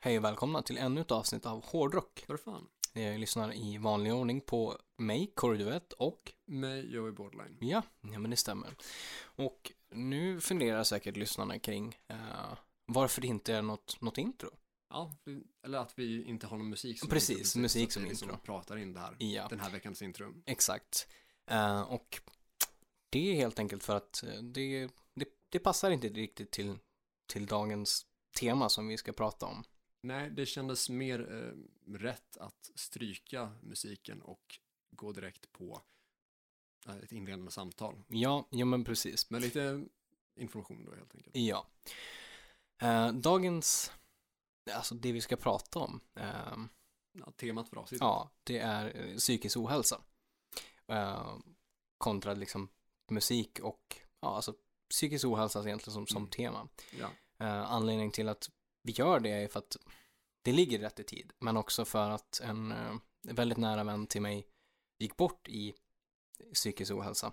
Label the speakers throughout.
Speaker 1: Hej och välkomna till ännu ett avsnitt av Hårdrock.
Speaker 2: För fan.
Speaker 1: Ni lyssnar i vanlig ordning på mig, Kåre Duett och
Speaker 2: Mig, Joey Borderline.
Speaker 1: ja, ja men det stämmer. Och nu funderar säkert lyssnarna kring eh, varför det inte är något, något intro.
Speaker 2: Ja, vi- eller att vi inte har någon musik som
Speaker 1: Precis,
Speaker 2: intro,
Speaker 1: musik
Speaker 2: så att
Speaker 1: som
Speaker 2: vi liksom
Speaker 1: intro.
Speaker 2: pratar in det här.
Speaker 1: Ja,
Speaker 2: Den här veckans intro.
Speaker 1: exakt. Eh, och det är helt enkelt för att eh, det, det, det passar inte riktigt till, till dagens tema som vi ska prata om.
Speaker 2: Nej, det kändes mer eh, rätt att stryka musiken och gå direkt på eh, ett inledande samtal.
Speaker 1: Ja, ja men precis.
Speaker 2: Men lite information då helt enkelt.
Speaker 1: Ja. Eh, dagens, alltså det vi ska prata om, ehm,
Speaker 2: Ja, temat för avsnittet.
Speaker 1: ja, det är eh, psykisk ohälsa. Eh, kontra liksom musik och, ja, alltså psykisk ohälsa egentligen som, som
Speaker 2: Mm.
Speaker 1: tema.
Speaker 2: Ja.
Speaker 1: Eh, anledningen till att vi gör det är för att det ligger rätt i tid, men också för att en eh, väldigt nära vän till mig gick bort i psykisk ohälsa.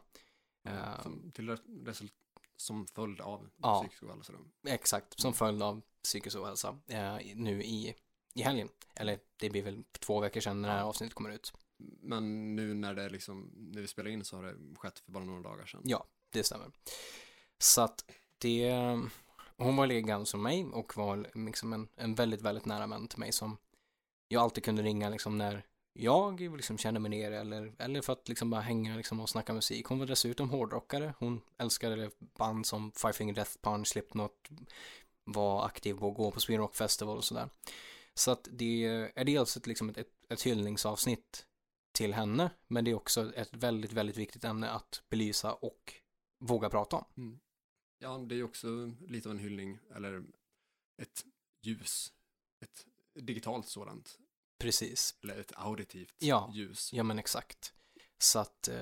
Speaker 1: Eh,
Speaker 2: Som, till re- result- som följd av
Speaker 1: Ja.
Speaker 2: psykisk ohälsa. då.
Speaker 1: Exakt, som följd av psykisk ohälsa eh, nu i, i helgen. Eller det blir väl två veckor sedan när det här avsnittet kommer ut.
Speaker 2: Men nu när det liksom, när vi spelar in så har det skett för bara några dagar sedan.
Speaker 1: Ja. Det stämmer. Så att det, hon var legan som mig och var liksom en, en väldigt, väldigt nära vän till mig som jag alltid kunde ringa liksom när jag liksom kände mig nere eller, eller för att liksom bara hänga liksom och snacka musik. Hon var dessutom hårdrockare. Hon älskade band som Five Finger Death Punch, Slipknot, var aktiv på att gå på Sweden Rock Festival och sådär. Så att det är dels ett, liksom ett, ett, ett hyllningsavsnitt till henne, men det är också ett väldigt, väldigt viktigt ämne att belysa och våga prata om.
Speaker 2: Mm. Ja, det är ju också lite av en hyllning, eller ett ljus, ett digitalt sådant,
Speaker 1: Precis.
Speaker 2: eller ett auditivt
Speaker 1: Ja.
Speaker 2: ljus.
Speaker 1: Ja men exakt. Så att eh,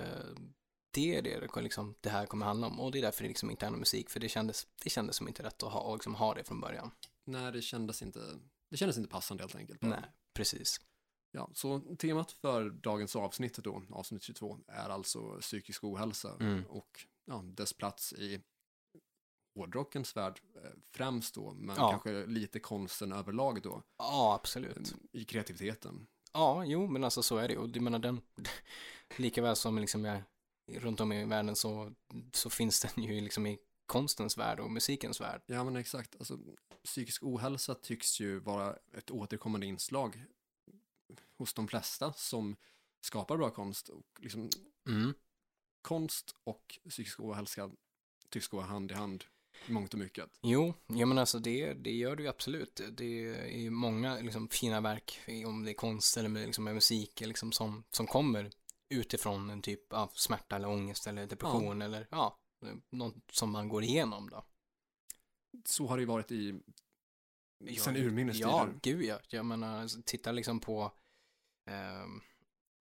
Speaker 1: det är det det liksom, det här kommer handla om och det är därför det liksom inte är någon musik för det kändes, det kändes som inte rätt att ha, och liksom ha det från början.
Speaker 2: Nej, det kändes inte, det kändes inte passande helt enkelt.
Speaker 1: Nej, precis.
Speaker 2: Ja, så temat för dagens avsnitt då, avsnitt 22, är alltså psykisk ohälsa
Speaker 1: Mm.
Speaker 2: och ja, dess plats i hårdrockens värld eh, främst då, men
Speaker 1: Ja.
Speaker 2: kanske lite konsten överlag då,
Speaker 1: Ja, absolut.
Speaker 2: i kreativiteten.
Speaker 1: Ja, jo men alltså så är det och du menar den, lika väl som liksom jag, runt om i världen så, så finns den ju liksom i konstens värld och musikens värld.
Speaker 2: Ja, men exakt. Alltså, psykisk ohälsa tycks ju vara ett återkommande inslag hos de flesta som skapar bra konst. Och liksom,
Speaker 1: Mm.
Speaker 2: konst och psykisk ohälsa tycks gå hand i hand i mångt och mycket.
Speaker 1: Jo, ja men alltså det, det gör du ju absolut. Det är ju många liksom, fina verk, om det är konst eller med, liksom, med musik, liksom, som, som kommer utifrån en typ av smärta eller ångest eller depression eller ja, något som man går igenom då.
Speaker 2: Så har det ju varit i
Speaker 1: Ja,
Speaker 2: sen urminnes
Speaker 1: Ja,
Speaker 2: tider.
Speaker 1: gud ja. Jag menar, alltså, titta liksom på, ehm,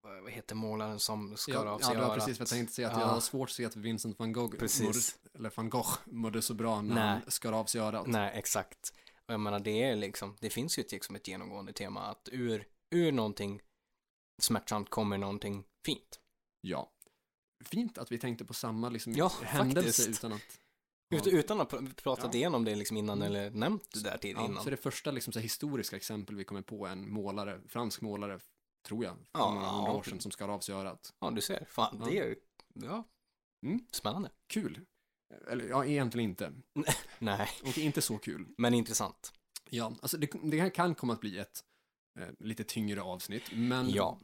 Speaker 1: vad vad heter målaren som skar
Speaker 2: Ja,
Speaker 1: av sig
Speaker 2: ja, det var
Speaker 1: örat?
Speaker 2: precis vad jag tänkte säga. Att
Speaker 1: Ja.
Speaker 2: Jag har svårt att se att Vincent van Gogh,
Speaker 1: Precis.
Speaker 2: mådde, eller van Gogh mådde så bra när
Speaker 1: Nej.
Speaker 2: han skar av sig örat.
Speaker 1: Nej, exakt. Och jag menar, det är liksom, det finns ju ett, liksom ett genomgående tema att ur, ur någonting smärtsamt kommer någonting fint.
Speaker 2: Ja. Fint att vi tänkte på samma liksom,
Speaker 1: Ja,
Speaker 2: händelse
Speaker 1: faktiskt.
Speaker 2: utan att...
Speaker 1: Ut, utan att pr- pratat
Speaker 2: Ja.
Speaker 1: igenom det liksom innan
Speaker 2: Mm.
Speaker 1: eller nämnt det där till
Speaker 2: Ja,
Speaker 1: innan.
Speaker 2: Så det första liksom, så här, historiska exempel vi kommer på är en målare, fransk målare, tror jag, för
Speaker 1: Ja,
Speaker 2: några
Speaker 1: ja,
Speaker 2: hundra år
Speaker 1: typ.
Speaker 2: sedan som skar av sig örat.
Speaker 1: Ja, du ser. Fan,
Speaker 2: Ja.
Speaker 1: det är ju, ja,
Speaker 2: Mm.
Speaker 1: spännande.
Speaker 2: Kul. Eller ja, egentligen inte.
Speaker 1: Nej,
Speaker 2: Och inte så kul.
Speaker 1: men intressant.
Speaker 2: Ja, alltså det, det här kan komma att bli ett eh, lite tyngre avsnitt, men
Speaker 1: Ja.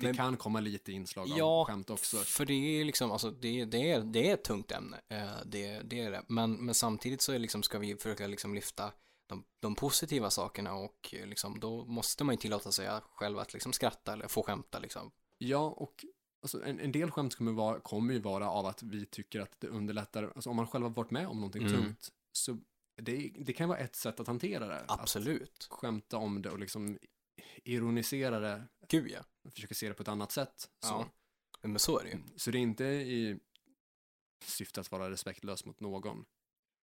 Speaker 2: det
Speaker 1: Men-
Speaker 2: kan komma lite inslag av
Speaker 1: Ja,
Speaker 2: skämt också.
Speaker 1: För det är liksom, alltså det, det, är, det är ett tungt ämne, eh, det, det är det. Men, men samtidigt så är liksom, ska vi försöka liksom lyfta de, de positiva sakerna och eh, liksom, då måste man ju tillåta sig att själv att liksom skratta eller få skämta liksom.
Speaker 2: Ja, och alltså, en, en del skämt kommer, vara, kommer ju vara av att vi tycker att det underlättar, alltså om man själv har varit med om någonting
Speaker 1: Mm.
Speaker 2: tungt, så det, det kan vara ett sätt att hantera det. Att
Speaker 1: Absolut.
Speaker 2: skämta om det och liksom ironisera det,
Speaker 1: Gud ja.
Speaker 2: försöka se det på ett annat sätt. Så,
Speaker 1: Ja. Men så är det ju.
Speaker 2: så det är inte i syfte att vara respektlös mot någon.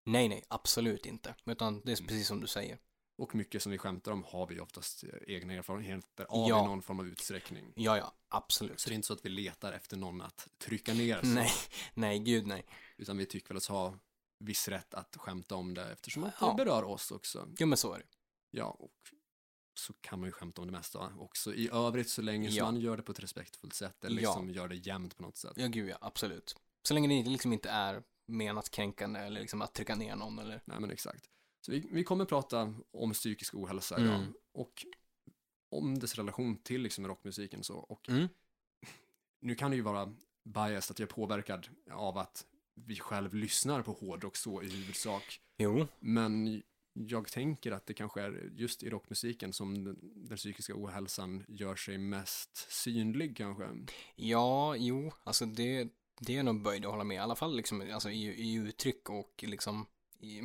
Speaker 1: Nej, nej, absolut inte. Utan det är
Speaker 2: Mm.
Speaker 1: precis som du säger.
Speaker 2: Och mycket som vi skämtar om har vi oftast eh, egna erfarenheter av
Speaker 1: Ja.
Speaker 2: i någon form av utsträckning.
Speaker 1: Ja, ja, absolut.
Speaker 2: Så det är inte så att vi letar efter någon att trycka ner, så,
Speaker 1: Nej, nej, gud nej.
Speaker 2: utan vi tycker väl oss ha viss rätt att skämta om det eftersom att
Speaker 1: Ja.
Speaker 2: det berör oss också.
Speaker 1: Jo, men så är det.
Speaker 2: Ja, och så kan man ju skämta om det mesta också. I övrigt så länge
Speaker 1: Ja.
Speaker 2: som man gör det på ett respektfullt sätt eller
Speaker 1: Ja.
Speaker 2: liksom gör det jämnt på något sätt.
Speaker 1: Ja, gud ja, absolut. Så länge det liksom inte är menat kränkande eller liksom att trycka ner någon eller...
Speaker 2: Nej men exakt. Så vi, vi kommer prata om psykisk ohälsa
Speaker 1: Mm.
Speaker 2: idag och om dess relation till liksom rockmusiken så. Och
Speaker 1: Mm.
Speaker 2: nu kan det ju vara biased att jag är påverkad av att vi själv lyssnar på hårdrock så i huvudsak.
Speaker 1: Jo.
Speaker 2: Men jag tänker att det kanske är just i rockmusiken som den, den psykiska ohälsan gör sig mest synlig kanske.
Speaker 1: Ja, jo, alltså det, det är nog böjd att hålla med. I alla fall liksom, alltså, i, i uttryck och liksom i,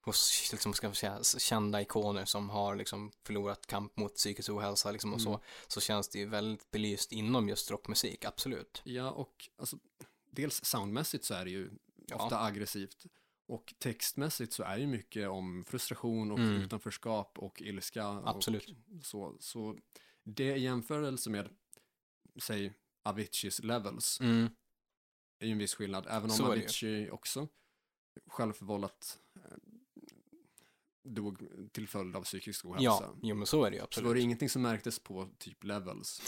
Speaker 1: hos liksom, ska man säga, s- kända ikoner som har liksom förlorat kamp mot psykisk ohälsa liksom, och så,
Speaker 2: Mm.
Speaker 1: så känns det ju väldigt belyst inom just rockmusik, absolut.
Speaker 2: Ja, och alltså, dels soundmässigt så är det ju
Speaker 1: Ja.
Speaker 2: ofta aggressivt. Och textmässigt så är det ju mycket om frustration och
Speaker 1: Mm.
Speaker 2: utanförskap och ilska.
Speaker 1: Absolut.
Speaker 2: Och så, så det i jämförelse med, säg, Aviciis levels
Speaker 1: Mm.
Speaker 2: är ju en viss skillnad. Även om
Speaker 1: Så är det ju.
Speaker 2: Avicii också självförvållat eh, dog till följd av psykisk ohälsa.
Speaker 1: Ja, jo men så är det ju
Speaker 2: Så
Speaker 1: absolut.
Speaker 2: var det ingenting som märktes på typ levels.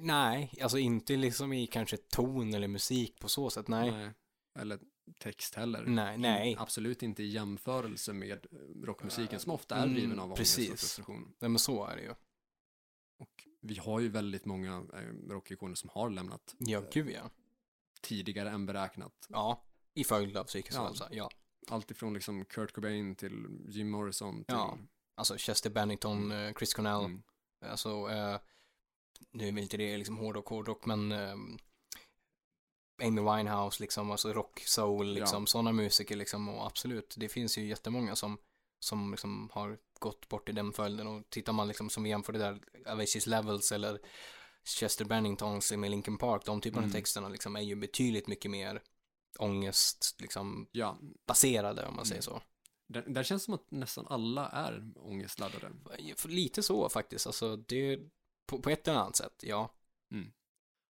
Speaker 1: Nej, alltså inte liksom i kanske ton eller musik på så sätt, nej. Mm.
Speaker 2: Eller text heller.
Speaker 1: Nej, nej.
Speaker 2: Absolut inte i jämförelse med eh, rockmusiken som ofta är
Speaker 1: Mm,
Speaker 2: driven av ångest och
Speaker 1: precis.
Speaker 2: frustration.
Speaker 1: Nej men så är det ju.
Speaker 2: Och vi har ju väldigt många eh, rockikoner som har lämnat
Speaker 1: Ja, gud ja.
Speaker 2: tidigare än beräknat.
Speaker 1: Ja, i följd av psykisk
Speaker 2: Ja.
Speaker 1: ohälsa, ja.
Speaker 2: Allt ifrån liksom Kurt Cobain till Jim Morrison till...
Speaker 1: Ja. Alltså Chester Bennington, eh, Chris Cornell,
Speaker 2: Mm.
Speaker 1: alltså eh, nu är väl inte det liksom hårdrock, hårdrock, men eh, Amy Winehouse liksom, alltså rock, soul, liksom, sådana musiker liksom och absolut, det finns ju jättemånga som, som liksom har gått bort i den följden och tittar man liksom som vi jämförde där, Aviciis Levels eller Chester Benningtons med Linkin Park, de typerna av
Speaker 2: Mm.
Speaker 1: texterna liksom är ju betydligt mycket mer ångest, liksom
Speaker 2: ja.
Speaker 1: baserade om man säger
Speaker 2: Mm.
Speaker 1: så.
Speaker 2: Där, där känns det som att nästan alla är ångestladdade.
Speaker 1: Lite så faktiskt, alltså det, på, på ett eller annat sätt, ja.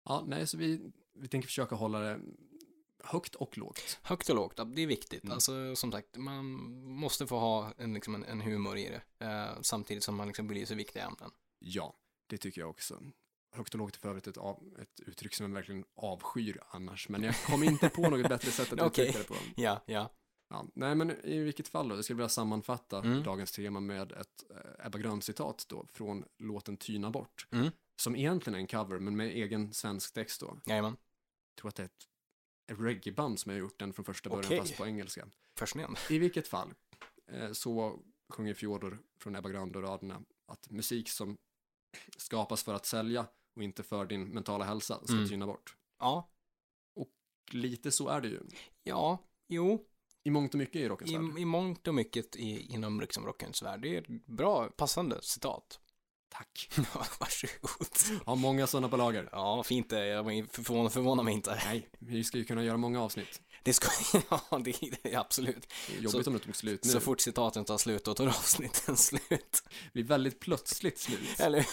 Speaker 2: Ja, nej, så vi, vi tänker försöka hålla det högt och lågt.
Speaker 1: Högt och lågt, ja, det är viktigt.
Speaker 2: Mm.
Speaker 1: Alltså som sagt, man måste få ha en, liksom en, en humor i det. Eh, samtidigt som man liksom belyser viktiga ämnen.
Speaker 2: Ja, det tycker jag också. Högt och lågt är för övrigt ett, av, ett uttryck som jag verkligen avskyr annars, men jag kom inte på något bättre sätt att
Speaker 1: Okej.
Speaker 2: uttrycka det på.
Speaker 1: Ja, ja.
Speaker 2: Ja, nej, men i vilket fall då? Jag skulle vilja sammanfatta
Speaker 1: Mm.
Speaker 2: dagens tema med ett eh, Ebba Grön-citat då från låten Tyna bort.
Speaker 1: Mm.
Speaker 2: Som egentligen är en cover, men med egen svensk text då. Jag
Speaker 1: Jajamän.
Speaker 2: tror att det är ett ett reggaeband som har gjort den från första början,
Speaker 1: Okej.
Speaker 2: fast på engelska.
Speaker 1: Fascinerande.
Speaker 2: I vilket fall, eh, så sjunger Fjodor från Ebba Grön då raderna att musik som skapas för att sälja och inte för din mentala hälsa ska
Speaker 1: Mm.
Speaker 2: tyna bort.
Speaker 1: Ja,
Speaker 2: Lite så är det ju.
Speaker 1: ja, jo.
Speaker 2: I mångt och mycket i rockens
Speaker 1: I,
Speaker 2: värld.
Speaker 1: i mångt och mycket i, inom liksom rockens värld. Det är ett bra, passande citat.
Speaker 2: Tack.
Speaker 1: Ja, Varsågod.
Speaker 2: Har många sådana på lager.
Speaker 1: Ja, fint det. Jag var förvånad, förvånar mig inte.
Speaker 2: Nej, vi ska ju kunna göra många avsnitt.
Speaker 1: Det ska, ja, det, det är absolut.
Speaker 2: Det är Jobbigt om det tog slut nu.
Speaker 1: Så fort citaten tar slut, då tar avsnitten slut.
Speaker 2: Det blir väldigt plötsligt slut.
Speaker 1: Eller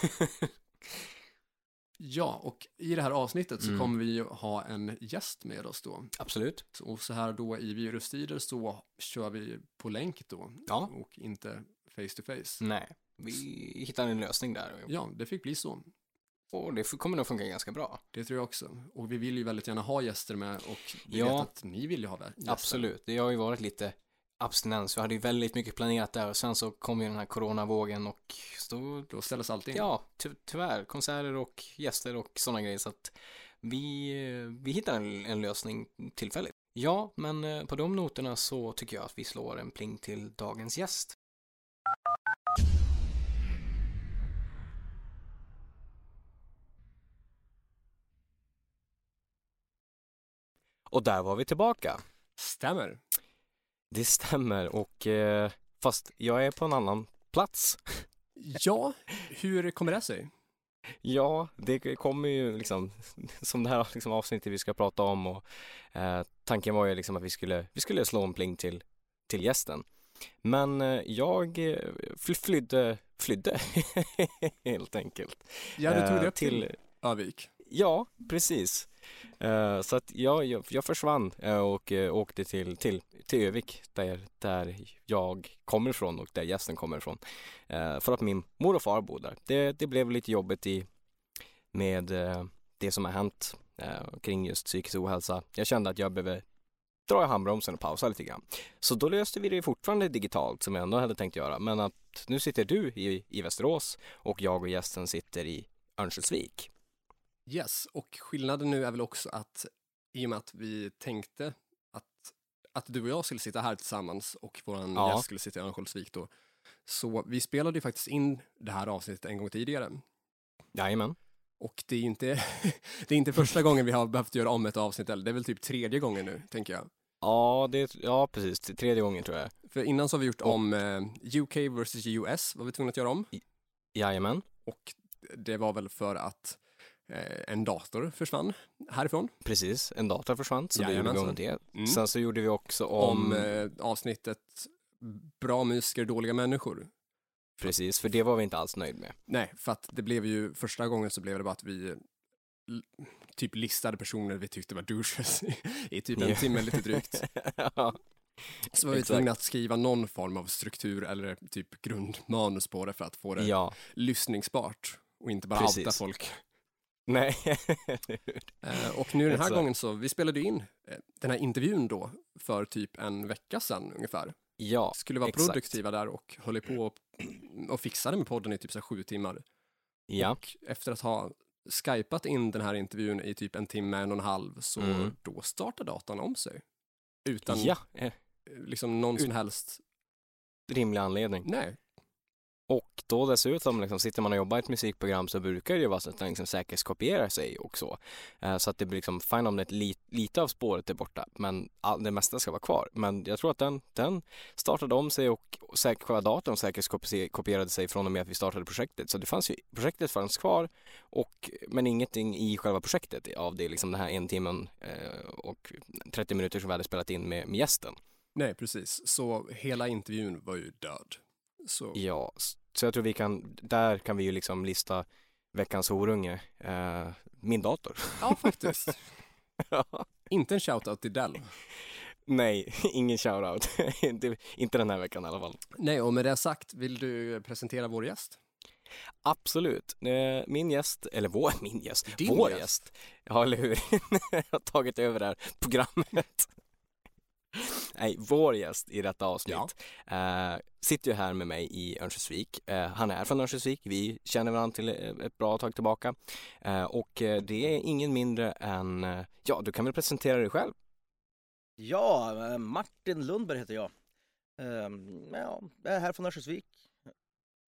Speaker 2: Ja, och i det här avsnittet så
Speaker 1: Mm.
Speaker 2: kommer vi ju ha en gäst med oss då.
Speaker 1: Absolut.
Speaker 2: Så- Och så här då i virustider så kör vi på länk då
Speaker 1: Ja. Mm.
Speaker 2: och inte face to face.
Speaker 1: Nej, vi hittar en lösning där.
Speaker 2: Ja, det fick bli så.
Speaker 1: Och det f- kommer nog funka ganska bra.
Speaker 2: Det tror jag också. Och vi vill ju väldigt gärna ha gäster med och vi
Speaker 1: Ja.
Speaker 2: vet att ni vill ju ha vä- gäster.
Speaker 1: Absolut. Det har ju varit lite abstinens. Vi hade ju väldigt mycket planerat där och sen så kom ju den här coronavågen och så,
Speaker 2: Då ställs allting.
Speaker 1: ja, ty tyvärr, konserter och gäster och sådana grejer. Så att vi, eh, vi hittar en, en lösning tillfälligt. Ja, men eh, på de noterna så tycker jag att vi slår en pling till dagens gäst. Och där var vi tillbaka.
Speaker 2: Stämmer.
Speaker 1: Det stämmer och eh, fast jag är på en annan plats.
Speaker 2: Ja, hur kommer det sig?
Speaker 1: Ja, det kommer ju liksom som det här liksom, avsnittet vi ska prata om och eh, tanken var ju liksom att vi skulle, vi skulle slå en pling till, till gästen. Men eh, jag eh, fly, flydde, flydde helt enkelt.
Speaker 2: Ja, du tog
Speaker 1: Eh,
Speaker 2: det upp till Övik.
Speaker 1: Ja, precis. Eh, så att jag, jag, jag försvann eh, och eh, åkte till, till, till Övik där, där jag kommer ifrån och där gästen kommer ifrån. Eh, för att min mor och far bor där. Det, det blev lite jobbigt i, med eh, det som har hänt eh, kring just psykisk ohälsa. Jag kände att jag behöver dra i handbromsen och pausa lite grann. Så då löste vi det fortfarande digitalt som jag ändå hade tänkt göra. Men att nu sitter du i, i Västerås och jag och gästen sitter i Örnsköldsvik.
Speaker 2: Yes, och skillnaden nu är väl också att i och med att vi tänkte att, att du och jag skulle sitta här tillsammans och vår
Speaker 1: Ja.
Speaker 2: gäst skulle sitta i Örnsköldsvik då. Så vi spelade ju faktiskt in det här avsnittet en gång tidigare.
Speaker 1: Jajamän.
Speaker 2: Och det är ju inte, det är inte första gången vi har behövt göra om ett avsnitt, eller det är väl typ tredje gången nu, tänker jag.
Speaker 1: Ja, det, ja precis. Det är Tredje gången tror jag.
Speaker 2: För innan så har vi gjort om eh, UK versus US, var vi tvungna att göra om.
Speaker 1: Jajamän,
Speaker 2: Och det var väl för att eh, en dator försvann härifrån.
Speaker 1: precis. En dator försvann så då gjorde vi om
Speaker 2: Jajamensan.
Speaker 1: det.
Speaker 2: Mm.
Speaker 1: Sen så gjorde vi också om,
Speaker 2: om eh, avsnittet Bra musiker, dåliga människor.
Speaker 1: precis, för det var vi inte alls nöjd med.
Speaker 2: Nej, för att det blev ju, första gången så blev det bara att vi l- typ listade personer vi tyckte var douches i, i typ en
Speaker 1: Ja.
Speaker 2: timme lite drygt.
Speaker 1: ja,
Speaker 2: Så var vi
Speaker 1: Exakt.
Speaker 2: tvungna att skriva någon form av struktur eller typ grundmanus på det för att få det
Speaker 1: ja,
Speaker 2: lyssningsbart och inte bara
Speaker 1: Precis.
Speaker 2: outa folk.
Speaker 1: nej.
Speaker 2: Eh, och nu den här
Speaker 1: Exakt.
Speaker 2: gången så, vi spelade ju in eh, den här intervjun då för typ en vecka sedan ungefär.
Speaker 1: ja,
Speaker 2: Skulle vara
Speaker 1: exakt.
Speaker 2: produktiva där och höll på och, och fixade med podden i typ så här sju timmar.
Speaker 1: ja,
Speaker 2: Och efter att ha skypat in den här intervjun i typ en timme, en och en halv, så
Speaker 1: Mm.
Speaker 2: då startar datorn om sig. Utan
Speaker 1: ja. eh,
Speaker 2: eh, liksom någon som helst,
Speaker 1: Rimlig anledning.
Speaker 2: nej,
Speaker 1: Och då dessutom, liksom, sitter man och jobbar i ett musikprogram så brukar det ju vara så att den liksom säkerhetskopierar sig och så. Eh, så att det blir liksom fine om det är ett lit, lite av spåret är borta, men all, det mesta ska vara kvar. Men jag tror att den, den startade om sig och säk, själva datorn säkerhetskopierade sig från och med att vi startade projektet. Så det fanns ju, projektet fanns kvar, och, men ingenting i själva projektet av det, liksom den här en timmen eh, och 30 minuter som vi hade spelat in med, med gästen.
Speaker 2: nej precis. Så hela intervjun var ju död. Så
Speaker 1: Ja, s- så jag tror vi kan, där kan vi ju liksom lista veckans horunge, eh, min dator.
Speaker 2: Ja, faktiskt. Inte en shoutout till Dell.
Speaker 1: Nej, ingen shoutout. inte, inte den här veckan i alla fall.
Speaker 2: Nej, och med det sagt, vill du presentera vår gäst?
Speaker 1: Absolut. Eh, Min gäst, eller vår, min gäst,
Speaker 2: Din
Speaker 1: vår
Speaker 2: gäst.
Speaker 1: gäst. Ja, eller hur? Jag har tagit över det här programmet. Nej, vår gäst i detta avsnitt eh, sitter ju här med mig i Örnsköldsvik. Eh, han är från Örnsköldsvik. Vi känner varandra till eh, ett bra tag tillbaka. Eh, och eh, det är ingen mindre än, eh, ja, du kan väl presentera dig själv.
Speaker 3: Ja, eh, Martin Lundberg heter jag. Ehm, Ja, jag är här från Örnsköldsvik.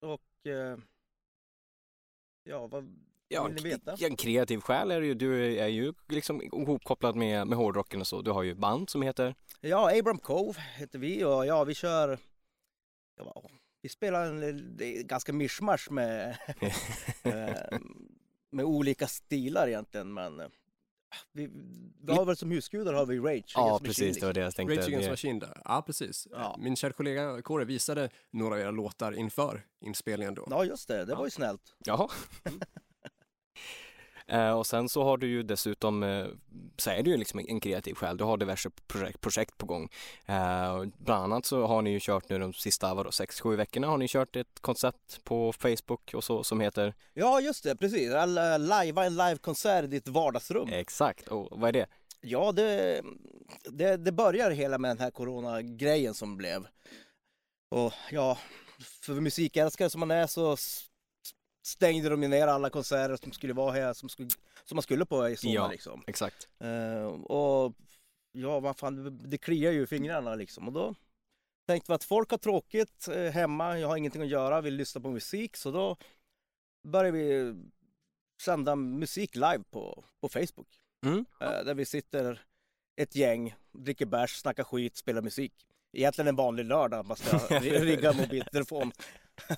Speaker 3: Och eh, ja, vad,
Speaker 1: Ja,
Speaker 3: Vill ni veta?
Speaker 1: en kreativ själ är du ju. Du är ju liksom ihopkopplad med, med hårdrocken och så. Du har ju ett band som heter
Speaker 3: ja, Abram Cove heter vi och ja, vi kör. Ja, vi spelar en, det är ganska mischmasch med, eh, med olika stilar egentligen, men eh, vi, vi har väl som husgudar har vi Rage.
Speaker 1: Ja,
Speaker 3: Against the Machine
Speaker 1: precis, det
Speaker 3: Liksom.
Speaker 1: var det jag tänkte.
Speaker 2: Rage Against the
Speaker 1: Det-
Speaker 2: Machine där. Ja, precis.
Speaker 3: Ja.
Speaker 2: Min kära kollega Kåre visade några av era låtar inför inspelningen då.
Speaker 3: Ja, just det, det var ju snällt.
Speaker 1: Jaha. Eh, och sen så har du ju dessutom, eh, så är du ju liksom en kreativ själ, du har diverse projekt, projekt på gång. Eh, och bland annat så har ni ju kört nu de sista, vadå, sex, sju veckorna har ni kört ett koncept på Facebook och så som heter?
Speaker 3: Ja, just det, precis. Alla- Lajva en livekonsert i ditt vardagsrum.
Speaker 1: Exakt, och vad är det?
Speaker 3: Ja, det, det, det börjar hela med den här coronagrejen som blev. Och ja, för musikälskare som man är så s- stängde de ju ner alla konserter som skulle vara här, som, skulle, som man skulle på i sommar
Speaker 1: Ja.
Speaker 3: liksom.
Speaker 1: Exakt.
Speaker 3: Eh, och ja, vad fan, det- det kliar ju i fingrarna liksom. Och då tänkte vi att folk har tråkigt eh, hemma, jag har ingenting att göra, vill lyssna på musik. Så då började vi sända musik live på, på Facebook.
Speaker 1: Mm.
Speaker 3: Eh, Där vi sitter ett gäng, dricker bärs, snackar skit, spelar musik. Egentligen en vanlig lördag, man ska ri- rigga mobiltelefon.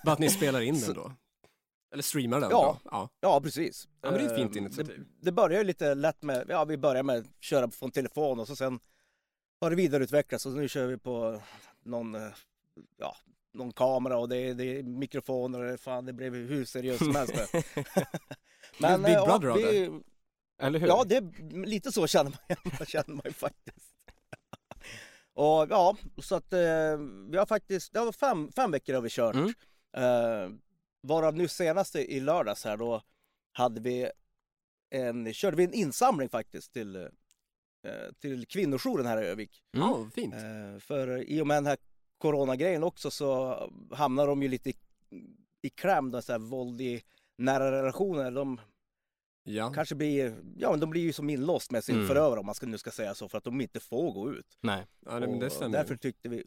Speaker 2: Bara att ni spelar in den då? Eller streamar den
Speaker 3: Ja.
Speaker 2: då? Ja.
Speaker 3: Ja, precis.
Speaker 2: Ja, men det är ett fint
Speaker 3: Eh,
Speaker 2: initiativ.
Speaker 3: Det, det börjar ju lite lätt med, ja vi börjar med att köra från telefon och så sen har det vidareutvecklats och nu kör vi på någon, eh, ja, någon kamera och det är, det är mikrofoner och fan det blev hur seriöst som helst. nu.
Speaker 2: Big
Speaker 3: eh, och
Speaker 2: Brother av
Speaker 3: vi,
Speaker 1: Eller hur?
Speaker 3: Ja, det är lite så känner man, jag känner man ju faktiskt. Och ja, så att eh, vi har faktiskt, det var fem, fem veckor har vi kört.
Speaker 1: Mm.
Speaker 3: Eh, varav nu senast i lördags här då hade vi en, körde vi en insamling faktiskt till, eh, till kvinnojouren här i Övik.
Speaker 1: Mm.
Speaker 2: Ja, fint.
Speaker 3: Eh, För i och med den här coronagrejen också så hamnar de ju lite i, i kläm, de så här våld i nära relationer. De
Speaker 2: Ja,
Speaker 3: kanske blir, ja men de blir ju som inlåst med sin
Speaker 1: Mm.
Speaker 3: förövare om man ska, nu ska säga så, för att de inte får gå ut.
Speaker 1: Nej.
Speaker 2: ja det, men det
Speaker 3: Och
Speaker 2: stämmer.
Speaker 3: därför
Speaker 2: Därför...
Speaker 3: tyckte vi,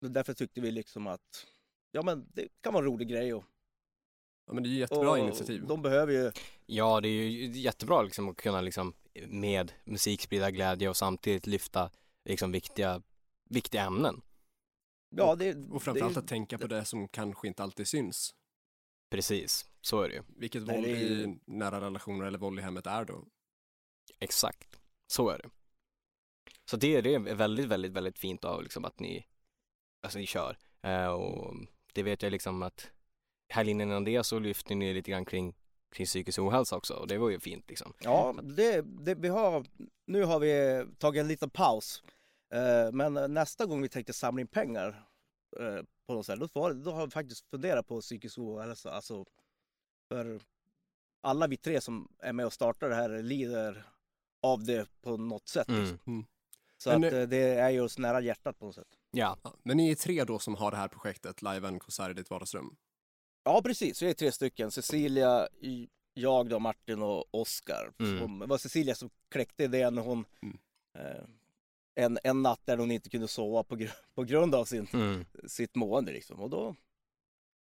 Speaker 3: därför tyckte vi liksom att, ja men det kan vara en rolig grej och,
Speaker 2: Ja, men det är ju jättebra
Speaker 3: och
Speaker 2: initiativ.
Speaker 3: de behöver ju,
Speaker 1: Ja, det är ju jättebra liksom att kunna liksom med musik sprida glädje och samtidigt lyfta liksom viktiga, viktiga ämnen.
Speaker 3: ja det,
Speaker 2: Och framförallt
Speaker 3: det,
Speaker 2: att tänka på det som kanske inte alltid syns.
Speaker 1: Precis, så är det ju.
Speaker 2: Vilket
Speaker 3: Nej,
Speaker 2: våld
Speaker 3: det är ju-
Speaker 2: i nära relationer eller våld i hemmet är då.
Speaker 1: Exakt, så är det. Så det, det är väldigt, väldigt, väldigt fint av liksom att ni, alltså ni kör. Eh, och det vet jag liksom att helgen innan det så lyfte ni lite grann kring, kring psykisk ohälsa också och det var ju fint liksom.
Speaker 3: Ja, det, det, vi har, nu har vi tagit en liten paus. Eh, men nästa gång vi tänkte samla in pengar eh, på något sätt, då, var, då har vi faktiskt funderat på psykisk ohälsa. Alltså, för alla vi tre som är med och startar det här lider av det på något sätt.
Speaker 1: Mm.
Speaker 3: liksom. Så
Speaker 2: Men
Speaker 3: att,
Speaker 2: nu-
Speaker 3: eh, det är ju oss nära hjärtat på något sätt.
Speaker 1: Ja,
Speaker 2: Ja. Men ni är tre då som har det här projektet, Live and Konsert i ditt vardagsrum.
Speaker 3: Ja, precis. Vi är tre stycken. Cecilia, y- jag då, Martin och Oskar.
Speaker 1: Mm.
Speaker 3: Hon- Det var Cecilia som kläckte idén. när Hon,
Speaker 2: Mm.
Speaker 3: eh, en, en natt där hon inte kunde sova på, gr- på grund av sin,
Speaker 1: mm.
Speaker 3: sitt mående. Liksom. Och då,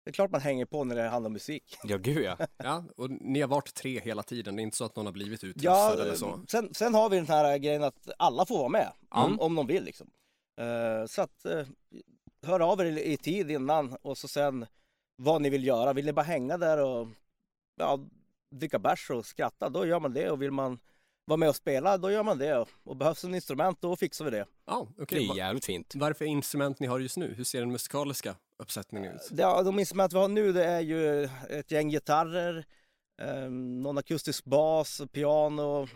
Speaker 3: det är klart man hänger på när det handlar om musik.
Speaker 1: ja gud ja.
Speaker 2: Ja, och ni har varit tre hela tiden. Det är inte så att någon har blivit
Speaker 3: Ja,
Speaker 2: utrustad eller så.
Speaker 3: sen, sen har vi den här grejen att alla får vara med om,
Speaker 1: Mm.
Speaker 3: om de vill. Liksom. Eh, så att, eh, hör av er i, i tid innan och så sen vad ni vill göra. Vill ni bara hänga där och ja, dricka bärs och skratta, då gör man det. Och vill man vara med och spela, då gör man det. Och behövs en instrument, då fixar vi det.
Speaker 2: Ja,
Speaker 1: Det
Speaker 2: okej.
Speaker 1: är jävligt fint.
Speaker 2: Varför instrument ni har just nu? Hur ser den musikaliska uppsättningen ut?
Speaker 3: det de instrument vi har nu, det är ju ett gäng gitarrer, eh, någon akustisk bas, piano,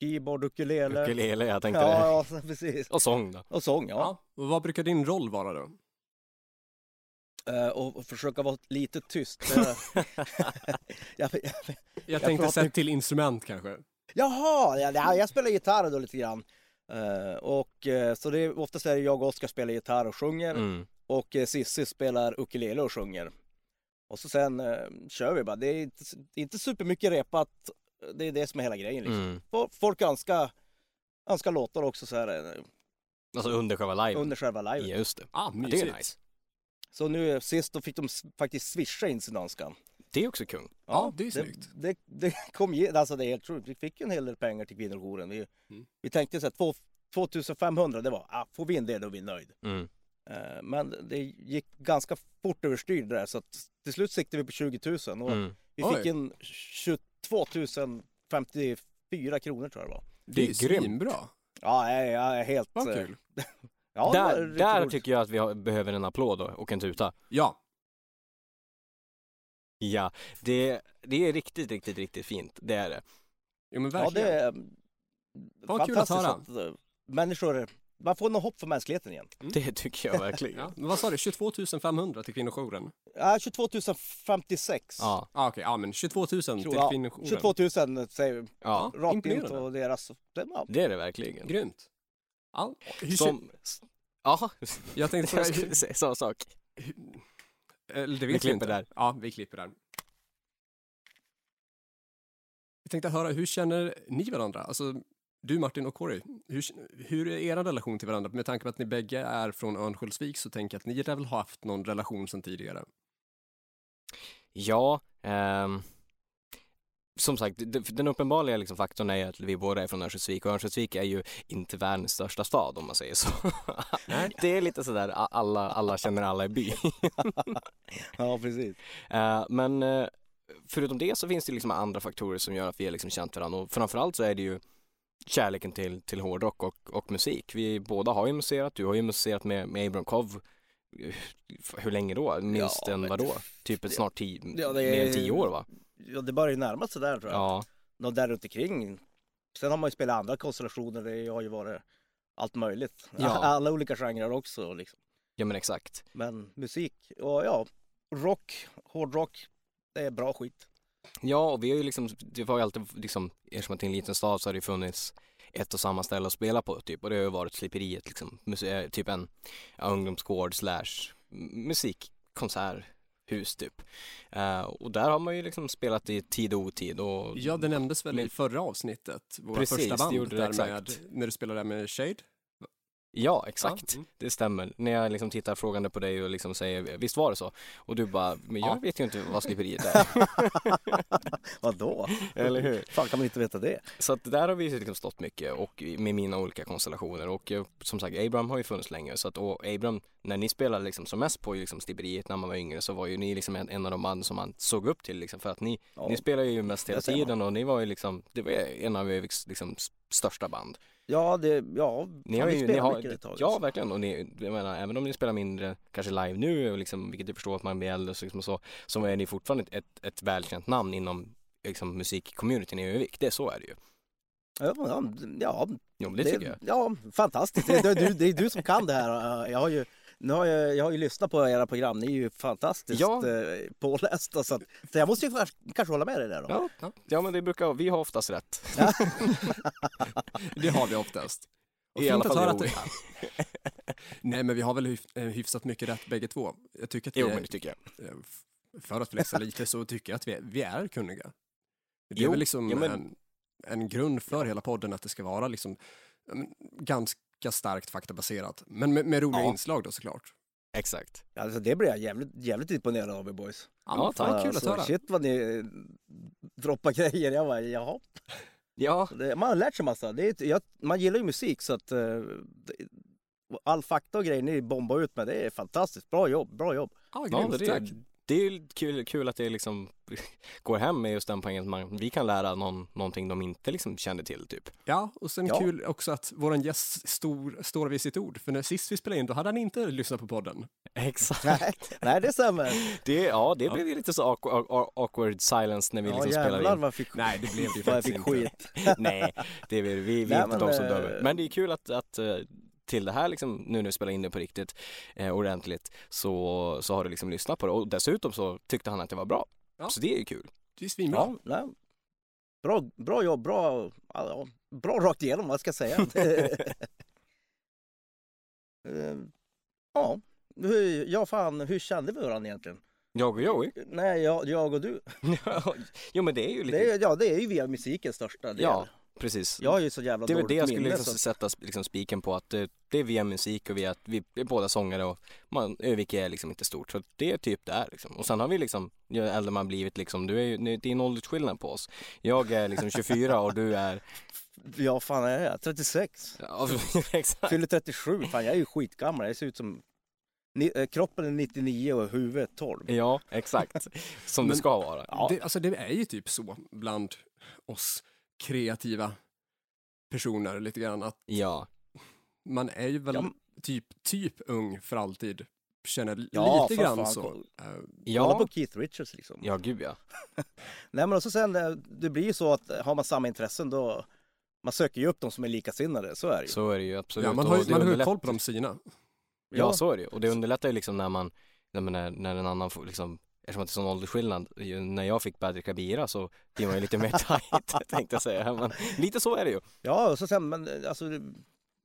Speaker 3: keyboard, ukulele.
Speaker 1: Ukulele, jag tänkte det.
Speaker 3: Ja, ja, precis.
Speaker 1: Och sång då.
Speaker 3: Och sång, ja.
Speaker 2: Ja. Och vad brukar din roll vara då?
Speaker 3: Eh, och och försöka vara lite tyst. Eh, jag, jag,
Speaker 2: Jag tänkte
Speaker 3: pratar-
Speaker 2: sett till instrument kanske.
Speaker 3: jaha, jag, jag, jag spelar gitarr då lite grann. Eh, och, eh, så det är, oftast är det jag och Oskar spelar gitarr och sjunger
Speaker 1: Mm.
Speaker 3: och eh, Sissi spelar ukulele och sjunger. Och så sen eh, kör vi bara. Det är inte, inte supermycket repat. Det är det som är hela grejen. Liksom.
Speaker 1: Mm.
Speaker 3: Fo- Folk önskar, önskar låtar också så här, eh,
Speaker 1: Alltså under själva live.
Speaker 3: under själva livet.
Speaker 1: Just det.
Speaker 2: Ah,
Speaker 1: Ja, det är nice.
Speaker 3: Så nu eh, sist då fick de s- faktiskt swisha in sin önskan.
Speaker 1: Det är också kung.
Speaker 2: Ja, det är snyggt.
Speaker 3: Det, det, kom ge, alltså det är helt sjukt. Vi fick ju en hel del pengar till kvinnojouren. Vi,
Speaker 2: Mm.
Speaker 3: vi tänkte så här, två- 2500, det var, ah, får vi in det då är vi nöjd.
Speaker 1: Mm.
Speaker 3: Eh, men det gick ganska fort överstyr det där så att till slut siktade vi på 20 000 och
Speaker 1: Mm.
Speaker 3: vi
Speaker 2: Oj.
Speaker 3: fick in 22 054 kronor tror jag det var.
Speaker 2: Det är,
Speaker 1: Det är
Speaker 2: ju
Speaker 1: grymt.
Speaker 2: svinbra.
Speaker 3: Ja, jag, jag är helt...
Speaker 2: Vad
Speaker 3: eh,
Speaker 2: kul.
Speaker 3: Ja, det var
Speaker 1: där
Speaker 3: riktigt
Speaker 1: där
Speaker 3: roligt.
Speaker 1: tycker jag att vi har, behöver en applåd då, och en tuta.
Speaker 2: Ja,
Speaker 1: Ja, det, det är riktigt, riktigt, riktigt fint. Det är det.
Speaker 2: jo, men
Speaker 3: Ja, det
Speaker 2: verkligen.
Speaker 3: är eh,
Speaker 2: Vad kul att
Speaker 3: fantastiskt
Speaker 2: höra.
Speaker 3: att, eh, människor, man får något hopp för mänskligheten igen.
Speaker 1: Det tycker jag verkligen.
Speaker 2: Ja,
Speaker 1: ja.
Speaker 2: men vad sa du, 22 500 till kvinnojouren?
Speaker 3: Ja, 22 056.
Speaker 1: Ja,
Speaker 2: Ah, Okej, ja men 22 000 till
Speaker 3: Ja,
Speaker 2: typ kvinnojouren.
Speaker 3: 22 000 säger vi. Rakt in
Speaker 2: imponerande.
Speaker 3: på deras... Ja,
Speaker 1: det är det verkligen.
Speaker 2: Grymt. Ja, hur, ser-
Speaker 1: Som, ja,
Speaker 2: jag tänkte fråga,
Speaker 1: jag
Speaker 2: hur,
Speaker 1: skulle säga samma sak.
Speaker 2: hur- eller det
Speaker 1: Vi
Speaker 2: vet vi
Speaker 1: klipper
Speaker 2: inte.
Speaker 1: där.
Speaker 2: Ja, vi klipper där. Jag tänkte höra, hur känner ni varandra? Alltså, du Martin och Corey, hur, hur är er relation till varandra? Med tanke på att ni bägge är från Örnsköldsvik så tänker jag att ni har väl haft någon relation sedan tidigare?
Speaker 1: Ja, ehm, som sagt, d- den uppenbara liksom faktorn är ju att vi båda är från Örnsköldsvik och Örnsköldsvik är ju inte världens största stad om man säger så. Det är lite sådär, a- alla, alla känner alla i byn.
Speaker 3: ja precis.
Speaker 1: Eh, men eh, förutom det så finns det liksom andra faktorer som gör att vi har liksom känt varandra och framförallt så är det ju kärleken till, till hårdrock och, och musik. Vi båda har ju muserat, du har ju muserat med, med Abram Kov eh, hur länge då? Minst
Speaker 3: Ja,
Speaker 1: en
Speaker 3: men-
Speaker 1: vadå? Typ ett snart tio,
Speaker 3: Ja, det är-
Speaker 1: mer än tio år va?
Speaker 3: Ja, det börjar ju närma sig där tror jag.
Speaker 1: Ja,
Speaker 3: nå där runt omkring. Sen har man ju spelat andra konstellationer, det har ju varit allt möjligt.
Speaker 1: Ja.
Speaker 3: Alla olika genrer också liksom.
Speaker 1: Ja men exakt.
Speaker 3: Men musik, och ja, rock, hårdrock, det är bra skit.
Speaker 1: Ja och vi har ju liksom, det var ju alltid liksom, eftersom att det är en liten stad så har det ju funnits ett och samma ställe att spela på typ och det har ju varit sliperiet liksom, muse- eh, typ en ja, ungdomsgård slash musikkonserthus typ. Eh, och där har man ju liksom spelat i tid och otid och
Speaker 2: Ja, det nämndes väl i
Speaker 1: Men-
Speaker 2: förra avsnittet, våra
Speaker 1: Precis,
Speaker 2: första
Speaker 1: det
Speaker 2: band,
Speaker 1: gjorde det,
Speaker 2: där
Speaker 1: exakt.
Speaker 2: med, när du spelade där med Shade.
Speaker 1: ja exakt.
Speaker 2: Ja, mm.
Speaker 1: Det stämmer. När jag liksom tittar frågande på dig och liksom säger visst var det så? Och du bara, men jag
Speaker 2: Ja.
Speaker 1: vet ju inte vad sliperiet är.
Speaker 3: Vadå?
Speaker 1: Eller hur?
Speaker 3: Fan kan man inte veta det?
Speaker 1: Så att där har vi ju liksom stått mycket och i- med mina olika konstellationer och eh, som sagt Abram har ju funnits länge så att och Abram, när ni spelade liksom som mest på ju liksom Stiberiet när man var yngre så var ju ni liksom en, en av de band som man såg upp till liksom för att ni,
Speaker 3: Ja.
Speaker 1: ni spelade ju mest hela
Speaker 3: det ser man.
Speaker 1: tiden och ni var ju liksom, det var en av Öviks liksom s- största band.
Speaker 3: Ja, det, ja,
Speaker 1: Ni
Speaker 3: fan,
Speaker 1: har
Speaker 3: vi
Speaker 1: ju, ni
Speaker 3: spelar
Speaker 1: har,
Speaker 3: mycket ett tag,
Speaker 1: ja
Speaker 3: alltså.
Speaker 1: verkligen och ni, jag menar även om ni spelar mindre kanske live nu och liksom, vilket jag förstår att man blir äldre så liksom och så, så är ni fortfarande ett, ett välkänt namn inom liksom musikcommunityn i Övik, det så är det ju.
Speaker 3: Ja, liksom. ja, ja,
Speaker 1: Jo men det, tycker jag.
Speaker 3: Ja, fantastiskt. Det är, du, det är du som kan det här. Jag har ju, nu har jag, jag har ju lyssnat på era program. Ni är ju fantastiskt
Speaker 1: Ja.
Speaker 3: eh, pålästa. Så, att, så jag måste ju kanske- kanske hålla med dig där då.
Speaker 1: Ja,
Speaker 2: Ja.
Speaker 1: ja men det brukar, vi har oftast rätt.
Speaker 2: Det har vi oftast. Och
Speaker 1: I
Speaker 2: fint
Speaker 1: alla
Speaker 2: att
Speaker 1: fall
Speaker 2: höra
Speaker 1: i
Speaker 2: att det- Nej, men vi har väl hyf- eh, hyfsat mycket rätt bägge två. Jag tycker att vi
Speaker 1: Jo
Speaker 2: är,
Speaker 1: men det tycker jag.
Speaker 2: eh, f- för att flexa lite så tycker jag att vi är, vi är kunniga. Det är
Speaker 1: Jo,
Speaker 2: väl liksom
Speaker 1: ja, men-
Speaker 2: en, en grund för hela podden att det ska vara liksom ja, men, ganska starkt faktabaserat, men med, med roliga
Speaker 3: Ja.
Speaker 2: inslag då såklart.
Speaker 1: Exakt.
Speaker 3: Alltså, det blir jag jävligt, jävligt imponerad av er boys.
Speaker 2: Ja,
Speaker 1: Ja,
Speaker 2: men fan,
Speaker 1: tack.
Speaker 2: kul att
Speaker 3: Alltså,
Speaker 2: höra.
Speaker 3: Shit vad ni eh, droppar grejer. Jag bara, jaha.
Speaker 1: Ja,
Speaker 3: Det, man har lärt sig massa. Det är, ett- jag, man gillar ju musik så att eh, det- all fakta och grejer ni bombar ut med, det är fantastiskt. Bra jobb, bra jobb.
Speaker 2: Ja,
Speaker 1: ja
Speaker 2: grymt,
Speaker 1: det,
Speaker 2: tack.
Speaker 1: är, det är ju kul, kul att det liksom går hem med just den poängen att man, vi kan lära någon, någonting de inte liksom kände till typ.
Speaker 2: Ja, och sen
Speaker 3: Ja.
Speaker 2: kul också att våran gäst stor, står vid sitt ord, för när sist vi spelade in då hade han inte lyssnat på podden.
Speaker 1: Exakt.
Speaker 3: Nej, nej det stämmer.
Speaker 1: Det, ja, det blev ju lite så awkward, awkward silence när vi
Speaker 3: Ja
Speaker 1: liksom spelade
Speaker 3: jävlar
Speaker 1: in.
Speaker 3: vad jag fick,
Speaker 2: Nej, det blev det ju
Speaker 3: vad jag
Speaker 2: faktiskt
Speaker 3: fick
Speaker 2: inte.
Speaker 3: skit.
Speaker 1: Nej, det är, vi, vi, vi
Speaker 3: Nej,
Speaker 1: är inte
Speaker 3: men,
Speaker 1: de som
Speaker 3: eh,
Speaker 1: dömer. Men det är kul att, att eh, till det här liksom, nu när vi spelar in det på riktigt eh, ordentligt så, så har du liksom lyssnat på det och dessutom så tyckte han att det var bra.
Speaker 2: Ja.
Speaker 1: Så det är ju kul.
Speaker 2: Det är svinbra.
Speaker 3: Ja, nej. Bra, bra jobb, bra, ja, bra rakt igenom vad ska jag säga. Eh, ja, hur, ja fan, hur kände vi varandra egentligen?
Speaker 1: Jag och Joey.
Speaker 3: Nej, jag, jag och du.
Speaker 1: jo men det är ju lite,
Speaker 3: Det är, ja, det är ju via musiken största del.
Speaker 1: ja precis.
Speaker 3: Jag är ju så jävla
Speaker 1: Det är väl
Speaker 3: dåligt
Speaker 1: det jag skulle
Speaker 3: minne,
Speaker 1: liksom
Speaker 3: så-
Speaker 1: sätta sp- liksom spiken på att det, det är via musik och via att vi är båda sångare och man, Övik är liksom inte stort så det är typ där liksom. Och sen har vi liksom, ju äldre man blivit liksom, du är ju, det är en åldersskillnad på oss. Jag är liksom 24 och du är,
Speaker 3: Ja, fan är jag? 36.
Speaker 1: ja, exakt.
Speaker 3: Fyller 37. Fan, jag är ju skitgammal. Jag ser ut som... Ni, eh, kroppen är 99 och huvudet 12.
Speaker 1: Ja, exakt. Som det
Speaker 2: Men-
Speaker 1: ska vara.
Speaker 3: Ja.
Speaker 2: Det, alltså det är ju typ så bland oss kreativa personer lite grann att
Speaker 1: Ja,
Speaker 2: man är ju väl
Speaker 3: Ja, men-
Speaker 2: typ, typ ung för alltid. Känner
Speaker 3: Ja,
Speaker 2: lite
Speaker 3: för
Speaker 2: grann
Speaker 3: fan.
Speaker 2: så. Eh,
Speaker 3: Kolla på
Speaker 1: ja,
Speaker 3: Keith Richards liksom.
Speaker 1: ja gud ja.
Speaker 3: Nej men också sen, eh, det blir ju så att eh, har man samma intressen då, man söker ju upp de som är likasinnade, så är det ju.
Speaker 1: Så är det ju absolut.
Speaker 2: Ja, man
Speaker 1: Och
Speaker 2: har ju
Speaker 1: det
Speaker 2: man har ju
Speaker 1: underlättar-
Speaker 2: koll på de sina.
Speaker 1: Ja, så är det ju. Och det underlättar ju liksom när man, när, när, när en annan får liksom, eftersom att det är sån åldersskillnad, ju, när jag fick Badr Kabira så blir man ju lite mer tight tänkte jag säga. Men lite så är det ju.
Speaker 3: ja och så sen, men eh, alltså, du-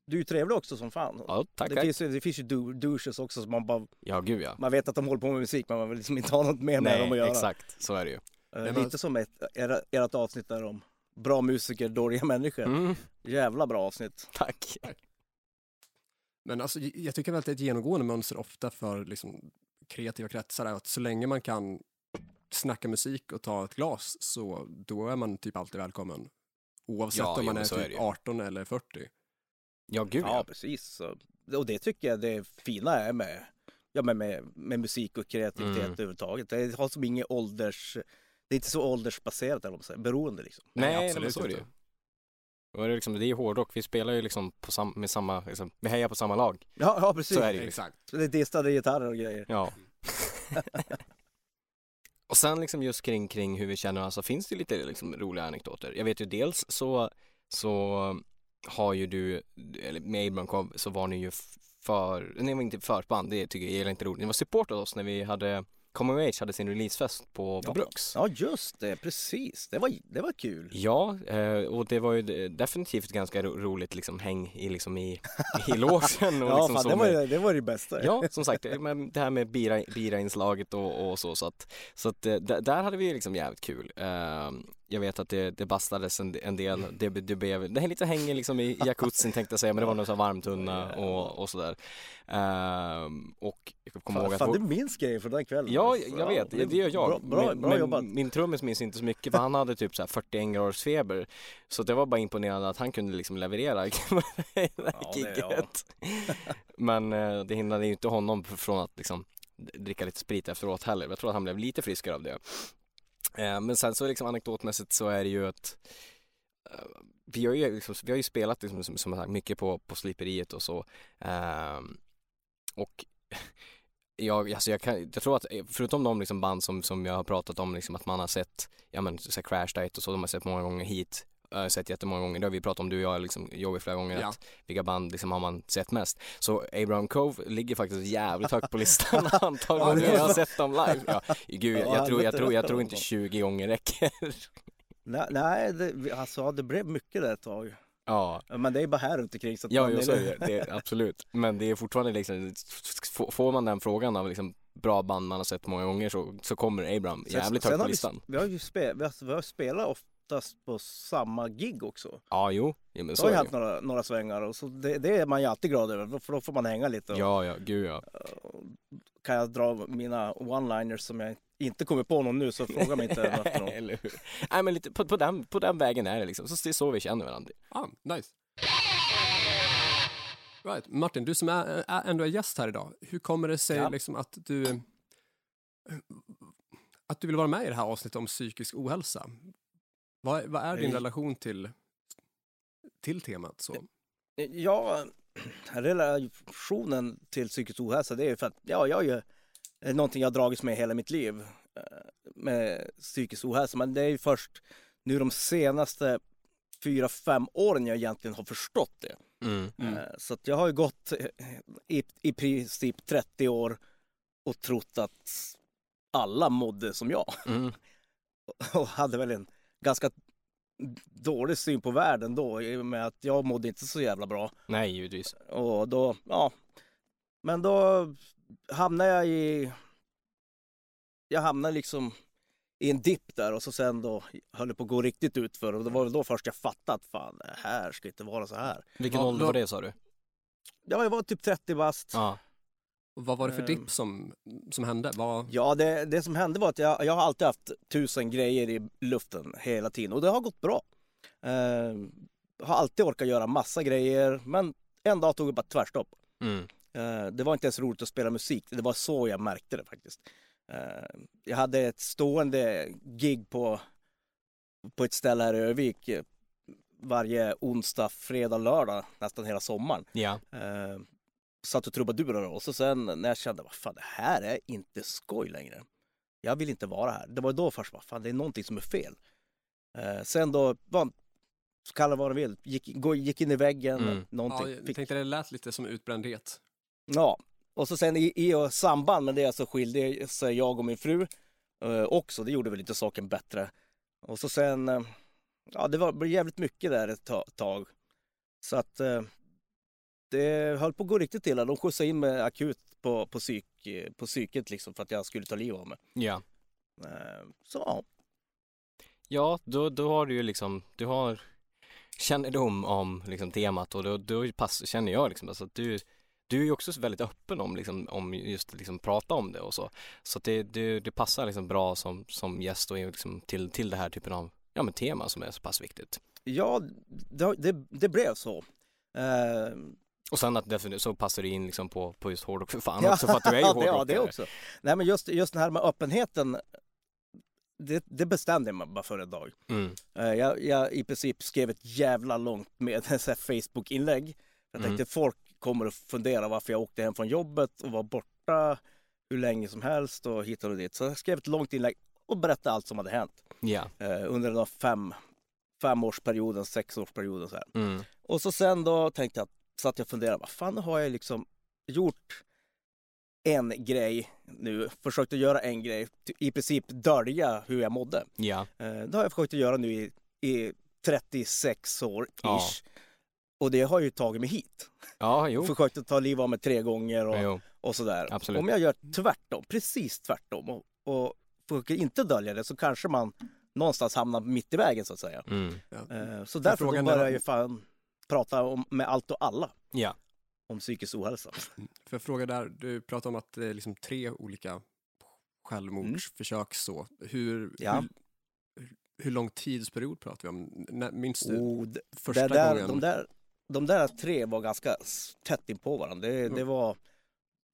Speaker 3: du är ju trevlig också som fan.
Speaker 1: Ja, tack.
Speaker 3: det,
Speaker 1: tack.
Speaker 3: finns, ju- det finns ju du- douches också, som man, bara,
Speaker 1: Ja, gud ja.
Speaker 3: man vet att de håller på med musik men man vill liksom inte ha något mer med dem att
Speaker 1: Nej,
Speaker 3: göra.
Speaker 1: exakt. Så är det ju.
Speaker 3: Eh,
Speaker 2: Nej, men-
Speaker 3: Lite som ett, era, ert avsnitt där om bra musiker, dåliga människor.
Speaker 1: Mm,
Speaker 3: Jävla bra avsnitt.
Speaker 1: tack.
Speaker 2: Men alltså, j- jag tycker väl att det är ett genomgående mönster ofta för liksom, kreativa kretsar är att så länge man kan snacka musik och ta ett glas så då är man typ alltid välkommen. Oavsett
Speaker 1: Ja,
Speaker 2: om man
Speaker 1: jo,
Speaker 2: är
Speaker 1: så är det
Speaker 2: typ
Speaker 1: ju.
Speaker 2: 18 eller 40.
Speaker 1: Ja, gud
Speaker 3: Ja,
Speaker 1: ja.
Speaker 3: precis. Så, och det tycker jag det fina är med, ja, men med, med musik och kreativitet
Speaker 1: Mm.
Speaker 3: överhuvudtaget. Det har som ingen ålders... Det är inte så åldersbaserat eller vad man säger, beroende liksom.
Speaker 1: Nej, nej, men
Speaker 2: absolut
Speaker 1: så är det ju.
Speaker 2: inte.
Speaker 1: Och det, är liksom, det är ju hårdrock, vi spelar ju liksom på sam- med samma, liksom, vi hejar på samma lag.
Speaker 3: Ja, ja precis.
Speaker 1: Så är det ju.
Speaker 2: Exakt.
Speaker 3: Det är distade gitarrer och grejer.
Speaker 1: Ja. Och sen liksom just kring, kring hur vi känner varandra så finns det lite liksom roliga anekdoter. Jag vet ju dels så, så har ju du, eller med Abrankov så var ni ju f- för, nej var inte förband, det tycker jag gillar inte roligt. Ni var support åt oss när vi hade, Coming of Age hade sin releasefest på, på
Speaker 3: Ja.
Speaker 1: Bruks.
Speaker 3: Ja just det, precis. Det var, det var kul.
Speaker 1: Ja, eh, och det var ju de- definitivt ganska ro- roligt liksom häng i, liksom i, i logen. Och
Speaker 3: Ja,
Speaker 1: liksom
Speaker 3: fan,
Speaker 1: så
Speaker 3: det, var,
Speaker 1: med-
Speaker 3: ju- det var det bästa.
Speaker 1: Ja, som sagt, eh, men det här med bira, bira-inslaget och, och så. Så att, så att eh, d- där hade vi ju liksom jävligt kul. Eh, jag vet att det, det bastades en, en del. Det, det blev det här lite hänger liksom i jacuzzin tänkte jag säga, men det var någon sån här varmtunna och, och sådär. Eh, och jag kommer ihåg
Speaker 3: Fan,
Speaker 1: att
Speaker 3: fan, du minns grejer från den kvällen.
Speaker 1: Ja,
Speaker 3: alltså.
Speaker 1: jag vet. Det gör jag.
Speaker 3: Bra, bra,
Speaker 1: men,
Speaker 3: bra
Speaker 1: men
Speaker 3: jobbat.
Speaker 1: Min trummis minns inte så mycket för han hade typ så här 41 graders feber. Så det var bara imponerande att han kunde liksom leverera i det här
Speaker 3: Ja, det- ja.
Speaker 1: giget. Men eh, det hindrade ju inte honom från att liksom dricka lite sprit efteråt heller. Jag tror att han blev lite friskare av det. Eh, Men sen så liksom anekdotmässigt så är det ju att eh, vi har ju, liksom, vi har ju spelat liksom, som, som sagt, mycket på, på sliperiet och så. Ehm, och jag, alltså jag, kan, jag tror att eh, förutom de liksom band som, som jag har pratat om, liksom att man har sett ja, men, så här Crash Diet och så, de har sett många gånger hit, eh, jag har sett jättemånga gånger, det har vi pratat om du och jag, liksom, Joey flera gånger,
Speaker 2: Ja.
Speaker 1: att vilka band liksom, har man sett mest. Så Abraham Cove ligger faktiskt jävligt högt på listan antal
Speaker 3: Ja,
Speaker 1: gånger
Speaker 3: det-
Speaker 1: jag har sett dem live. Ja, gud, jag,
Speaker 3: Ja,
Speaker 1: jag, tror, jag,
Speaker 3: helvete,
Speaker 1: tror, jag
Speaker 3: rätt
Speaker 1: tror
Speaker 3: om
Speaker 1: inte
Speaker 3: dem.
Speaker 1: 20 gånger räcker.
Speaker 3: Nej, nej det, vi- alltså ja, det blev mycket där ett tag.
Speaker 1: Ja.
Speaker 3: Men det är bara här runt omkring. Så att
Speaker 1: Ja,
Speaker 3: man
Speaker 1: jag
Speaker 3: är-
Speaker 1: säger det. det. är- Absolut. Men det är fortfarande liksom, f- får man den frågan av liksom bra band man har sett många gånger så, så kommer Abraham
Speaker 3: Sen-
Speaker 1: jävligt
Speaker 3: sen
Speaker 1: högt på
Speaker 3: har vi-
Speaker 1: listan.
Speaker 3: Vi har ju spel, vi har, vi har spelat oftast på samma gig också.
Speaker 1: Ja, jo. Ja, men
Speaker 3: Det
Speaker 1: så
Speaker 3: har
Speaker 1: är
Speaker 3: ju
Speaker 1: det
Speaker 3: haft
Speaker 1: ju.
Speaker 3: några, några svängar och så det, det är man ju alltid glad över för då får man hänga lite. Och
Speaker 1: Ja, ja, gud ja.
Speaker 3: Kan jag dra mina one-liners som jag inte kommer på någon nu så fråga mig inte efteråt.
Speaker 1: Eller hur? Nej, men lite på, på, den, på den vägen är det liksom. Så det är så vi känner varandra.
Speaker 2: Ah, nice. Right. Martin, du som är, är, ändå är gäst här idag, hur kommer det sig
Speaker 3: Ja.
Speaker 2: liksom att du att du vill vara med i det här avsnittet om psykisk ohälsa? Vad, vad är din
Speaker 3: Eh.
Speaker 2: relation till, till temat? Så?
Speaker 3: Ja, relationen till psykisk ohälsa det är ju för att ja, jag är ju är någonting jag har dragits med hela mitt liv eh, med psykisk ohälsa. Men det är ju först nu de senaste fyra, fem åren jag egentligen har förstått det.
Speaker 2: Mm.
Speaker 3: Eh, Så att jag har ju gått eh, i, i princip 30 år och trott att alla mådde som jag
Speaker 1: Mm.
Speaker 3: och hade väl en ganska dålig syn på världen då i och med att jag mådde inte så jävla bra.
Speaker 1: Nej, givetvis.
Speaker 3: Och då, ja. Men då hamnade jag i, jag hamnade liksom i en dipp där och så sen då höll det på att gå riktigt ut för och det var väl då först jag fattade att fan det här ska inte vara så här.
Speaker 1: Vilken
Speaker 2: Ja,
Speaker 1: ålder
Speaker 2: då-
Speaker 1: var det sa du?
Speaker 3: Ja, jag var typ 30 bast. Ja,
Speaker 1: Ja.
Speaker 2: Och vad var det för
Speaker 3: Ehm.
Speaker 2: dipp som, som hände? Vad,
Speaker 3: det, det som hände var att jag, jag har alltid haft tusen grejer i luften hela tiden och det har gått bra. Eh, har alltid orkat göra massa grejer men en dag tog det bara tvärstopp.
Speaker 1: Mm.
Speaker 3: Eh, Det var inte ens roligt att spela musik. Det var så jag märkte det faktiskt. Eh, Jag hade ett stående gig på, på ett ställe här i Övik eh, varje onsdag, fredag, lördag nästan hela sommaren.
Speaker 1: Ja.
Speaker 3: Eh, Satt och trubadurade och så sen när jag kände vad fan det här är inte skoj längre. Jag vill inte vara här. Det var då först vad fan det är någonting som är fel. Eh, Sen då, vad, kalla det vad du vill, gick, gå- gick in i väggen,
Speaker 1: Mm.
Speaker 3: någonting.
Speaker 2: ja, jag
Speaker 3: Fick-
Speaker 2: tänkte det lät lite som utbrändhet.
Speaker 3: Ja, och så sen i, i och samband med det så skilde sig jag och min fru eh, också. Det gjorde väl inte saken bättre. Och så sen, eh, ja det var, blev jävligt mycket där ett ta- tag. Så att eh, det höll på att gå riktigt illa. De skjutsade in mig akut på, på, psyk, eh, på psyket liksom för att jag skulle ta liv av mig.
Speaker 1: Ja.
Speaker 3: Eh, så ja,
Speaker 1: Ja, då, då har du ju liksom, du har kännedom om liksom temat och då, då pass, känner jag liksom alltså att du, du är ju också väldigt öppen om, liksom, om just liksom prata om det och så. Så att det, det, det passar liksom bra som, som gäst och är liksom till, till det här typen av ja, men tema som är så pass viktigt.
Speaker 3: ja det, det, det blev så. Eh,
Speaker 1: Och sen att definitivt så passar det in liksom på, på just hårdrock för fan
Speaker 3: Ja.
Speaker 1: också för att du är ju hårdrockare.
Speaker 3: Ja, det också. Nej, men just, just den här med öppenheten, det, det bestämde jag mig bara för en dag.
Speaker 1: Mm.
Speaker 3: Eh, Jag, jag i princip skrev ett jävla långt med så här Facebook-inlägg. Jag
Speaker 1: Mm.
Speaker 3: tänkte folk kommer att fundera varför jag åkte hem från jobbet och var borta hur länge som helst och hit och dit. Så jag skrev ett långt inlägg och berättade allt som hade hänt
Speaker 1: Ja.
Speaker 3: eh, under den här fem, femårsperioden, sexårsperioden så här.
Speaker 1: Mm.
Speaker 3: Och så sen då tänkte jag, satt jag och funderade, vad fan har jag liksom gjort en grej nu, försökt att göra en grej, ty- i princip dölja hur jag mådde.
Speaker 1: Ja.
Speaker 3: Eh, Det har jag försökt att göra nu i, i 36 år ish.
Speaker 1: Ja.
Speaker 3: Och det har ju tagit mig hit.
Speaker 1: Ja, jo.
Speaker 3: Försökt att ta livet av mig tre gånger och,
Speaker 1: jo.
Speaker 3: och sådär.
Speaker 1: Absolut.
Speaker 3: Om jag gör tvärtom, precis tvärtom och, och försöker inte dölja det så kanske man någonstans hamnar mitt i vägen så att säga.
Speaker 1: Mm.
Speaker 3: Eh, Så därför
Speaker 2: frågan
Speaker 3: då
Speaker 2: är-
Speaker 3: börjar jag ju fan prata om, med allt och alla
Speaker 1: Ja.
Speaker 3: om psykisk ohälsa.
Speaker 2: För jag frågar där, du pratar om att det är liksom tre olika självmordsförsök så. Hur,
Speaker 3: Mm. Ja.
Speaker 2: hur, hur lång tidsperiod pratar vi om? När, minns du
Speaker 3: Oh, d-
Speaker 2: första
Speaker 3: det där,
Speaker 2: gången?
Speaker 3: De där, de där tre var ganska s- tätt inpå varandra. Det, det
Speaker 2: Mm.
Speaker 3: var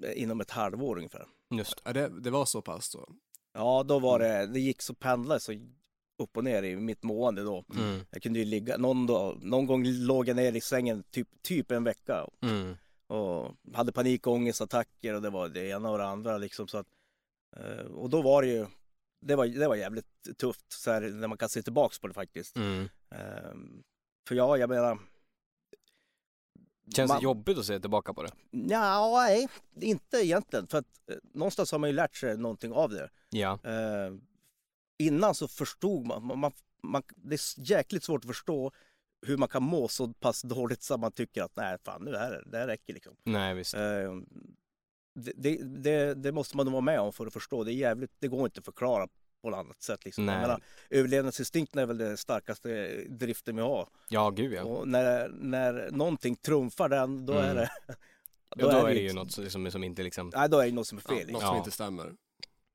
Speaker 3: eh, inom ett halvår ungefär.
Speaker 1: Just
Speaker 2: Ja, det, det var så pass då?
Speaker 3: Ja, då var det, det gick så pendlade så upp och ner i mitt mående då.
Speaker 1: det. Mm.
Speaker 3: Jag kunde ju ligga, någon, dag, någon gång låg jag ner i sängen typ, typ en vecka
Speaker 1: Mm.
Speaker 3: och hade panik och ångestattacker och det var det ena och det andra liksom. Så att, eh, och då var det ju, det var, det var jävligt tufft så här, när man kan se tillbaks på det faktiskt.
Speaker 1: Mm.
Speaker 3: Ehm, för ja, jag menar,
Speaker 1: Känns
Speaker 3: Man-
Speaker 1: det jobbigt att se tillbaka på det?
Speaker 3: Nja, nej, inte egentligen. För att eh, någonstans har man ju lärt sig någonting av det.
Speaker 1: Ja.
Speaker 3: Eh, innan så förstod man, man, man, man, det är s- jäkligt svårt att förstå hur man kan må så pass dåligt så att man tycker att nej, fan nu är det, det här räcker liksom.
Speaker 1: Nej, visst.
Speaker 3: Eh, det, det, det, det måste man nog vara med om för att förstå. Det är jävligt, det går inte att förklara på något annat sätt liksom. Jag
Speaker 1: Nej.
Speaker 3: menar, överlevnadsinstinkten är väl den starkaste driften vi har.
Speaker 1: Ja, gud ja.
Speaker 3: Och när, när någonting trumfar den, då är
Speaker 1: Mm.
Speaker 3: det...
Speaker 1: Då, då är det
Speaker 3: inte-
Speaker 1: ju något som- som, som inte liksom,
Speaker 3: Nej, då är det något som är
Speaker 2: Ja,
Speaker 3: fel.
Speaker 2: något
Speaker 3: liksom.
Speaker 2: som
Speaker 1: Ja.
Speaker 2: inte stämmer.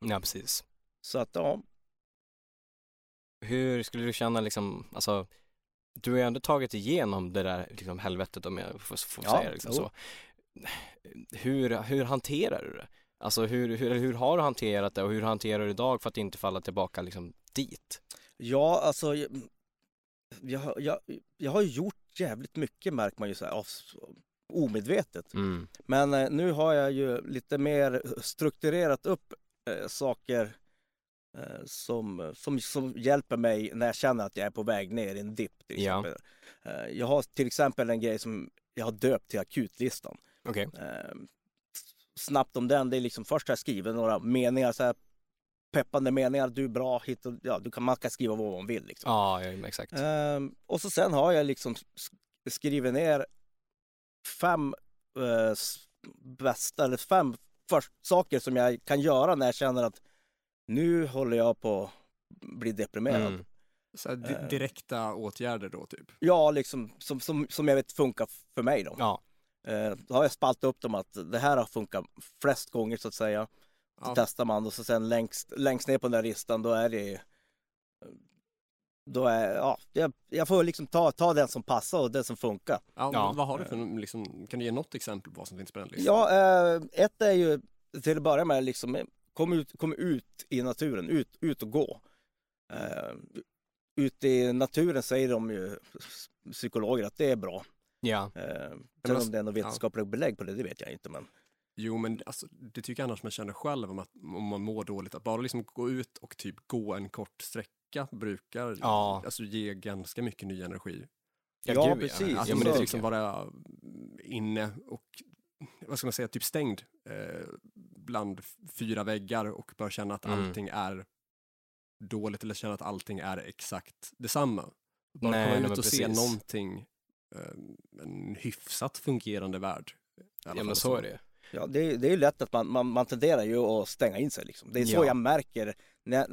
Speaker 1: ja precis.
Speaker 3: Så att ja,
Speaker 1: Hur skulle du känna liksom, alltså, du har ju ändå tagit igenom det där liksom helvetet om jag får, får
Speaker 3: Ja,
Speaker 1: säga liksom
Speaker 3: jo.
Speaker 1: så. Hur, hur hanterar du det? Alltså hur, hur, hur har du hanterat det och hur hanterar du idag för att inte falla tillbaka liksom dit?
Speaker 3: ja alltså jag, jag, har- jag, jag har ju gjort jävligt mycket märker man ju så här av, omedvetet.
Speaker 1: Mm.
Speaker 3: Men eh, nu har jag ju lite mer strukturerat upp eh, saker eh, som, som, som hjälper mig när jag känner att jag är på väg ner i en dipp. till
Speaker 1: Ja.
Speaker 3: exempel. Eh, jag har till exempel en grej som jag har döpt till akutlistan.
Speaker 1: Okej.
Speaker 3: Eh, snabbt om den, det är liksom först har jag skrivit några meningar, så här, peppande meningar, du är bra, hit och, ja, du kan, man kan skriva vad man vill. Liksom.
Speaker 1: Ja, ja, exakt.
Speaker 3: Ehm, och så sen har jag liksom sk- skrivit ner fem eh, s- bästa, eller fem först, saker som jag kan göra när jag känner att nu håller jag på att bli deprimerad.
Speaker 1: Mm.
Speaker 2: Så här, di-
Speaker 3: Eh.
Speaker 2: direkta åtgärder då typ?
Speaker 3: Ja, liksom som, som, som jag vet funkar f- för mig då.
Speaker 1: Ja.
Speaker 3: Eh, då har jag spaltat upp dem att det här har funkat flest gånger så att säga. Så
Speaker 2: Ja.
Speaker 3: testar man och så sen längst, längst ner på den där listan då är det då är, ja, jag, jag får liksom ta, ta den som passar och den som funkar.
Speaker 2: Ja,
Speaker 1: Ja.
Speaker 2: Vad har du för, liksom, kan du ge något exempel på vad som finns på den listan?
Speaker 3: Ja, eh, ett är ju till att börja med liksom, eh, kom ut, kom ut i naturen, ut, ut och gå. Eh, ut i naturen säger de ju, psykologer, att det är bra.
Speaker 1: Ja.
Speaker 3: Eh,
Speaker 2: men
Speaker 3: sen
Speaker 2: alltså-
Speaker 3: om det är något vetenskapligt belägg på det, det vet jag inte. Men
Speaker 2: Jo, men alltså, det tycker jag annars man känner själv om, att, om man mår dåligt. Att bara liksom gå ut och typ gå en kort sträcka brukar
Speaker 1: Ja.
Speaker 2: alltså, ge ganska mycket ny energi.
Speaker 3: Ja,
Speaker 1: gud,
Speaker 3: precis.
Speaker 1: Ja,
Speaker 2: Att
Speaker 1: ja, men det
Speaker 2: inte
Speaker 3: Så-
Speaker 1: tycker
Speaker 2: liksom
Speaker 1: jag.
Speaker 2: vara inne och, vad ska man säga, typ stängd eh, bland f- fyra väggar och bara känna att
Speaker 1: Mm.
Speaker 2: allting är dåligt eller känna att allting är exakt detsamma.
Speaker 1: Nej,
Speaker 2: Bara
Speaker 1: nej,
Speaker 2: komma
Speaker 1: men
Speaker 2: ut och se
Speaker 1: precis.
Speaker 2: någonting, eh, en hyfsat fungerande värld. i alla
Speaker 1: Ja, men
Speaker 2: fall
Speaker 1: så är det ju.
Speaker 3: ja, det, är- det är ju lätt att man, man, man tenderar ju att stänga in sig. Liksom. Det är så
Speaker 1: Ja.
Speaker 3: jag märker. När,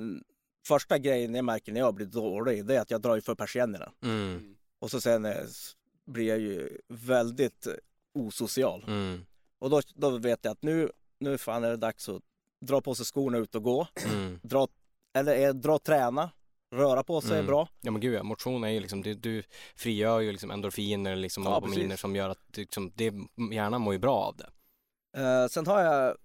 Speaker 3: första grejen jag märker när jag blir dålig, det är att jag drar ju för persiennerna.
Speaker 1: Mm.
Speaker 3: Och så sen eh, s- blir jag ju väldigt eh, osocial.
Speaker 1: Mm.
Speaker 3: Och då, då vet jag att nu, nu fan är det dags att dra på sig skorna ut och gå.
Speaker 1: Mm.
Speaker 3: Dra, eller eh, dra och träna. Röra på sig
Speaker 1: Mm.
Speaker 3: är bra.
Speaker 1: Ja men gud ja, motion är ju liksom, du, du frigör ju liksom endorfiner liksom
Speaker 3: Ja,
Speaker 1: och dopaminer
Speaker 3: precis.
Speaker 1: som gör att du liksom, det, hjärnan mår ju bra av det.
Speaker 3: Eh, sen har jag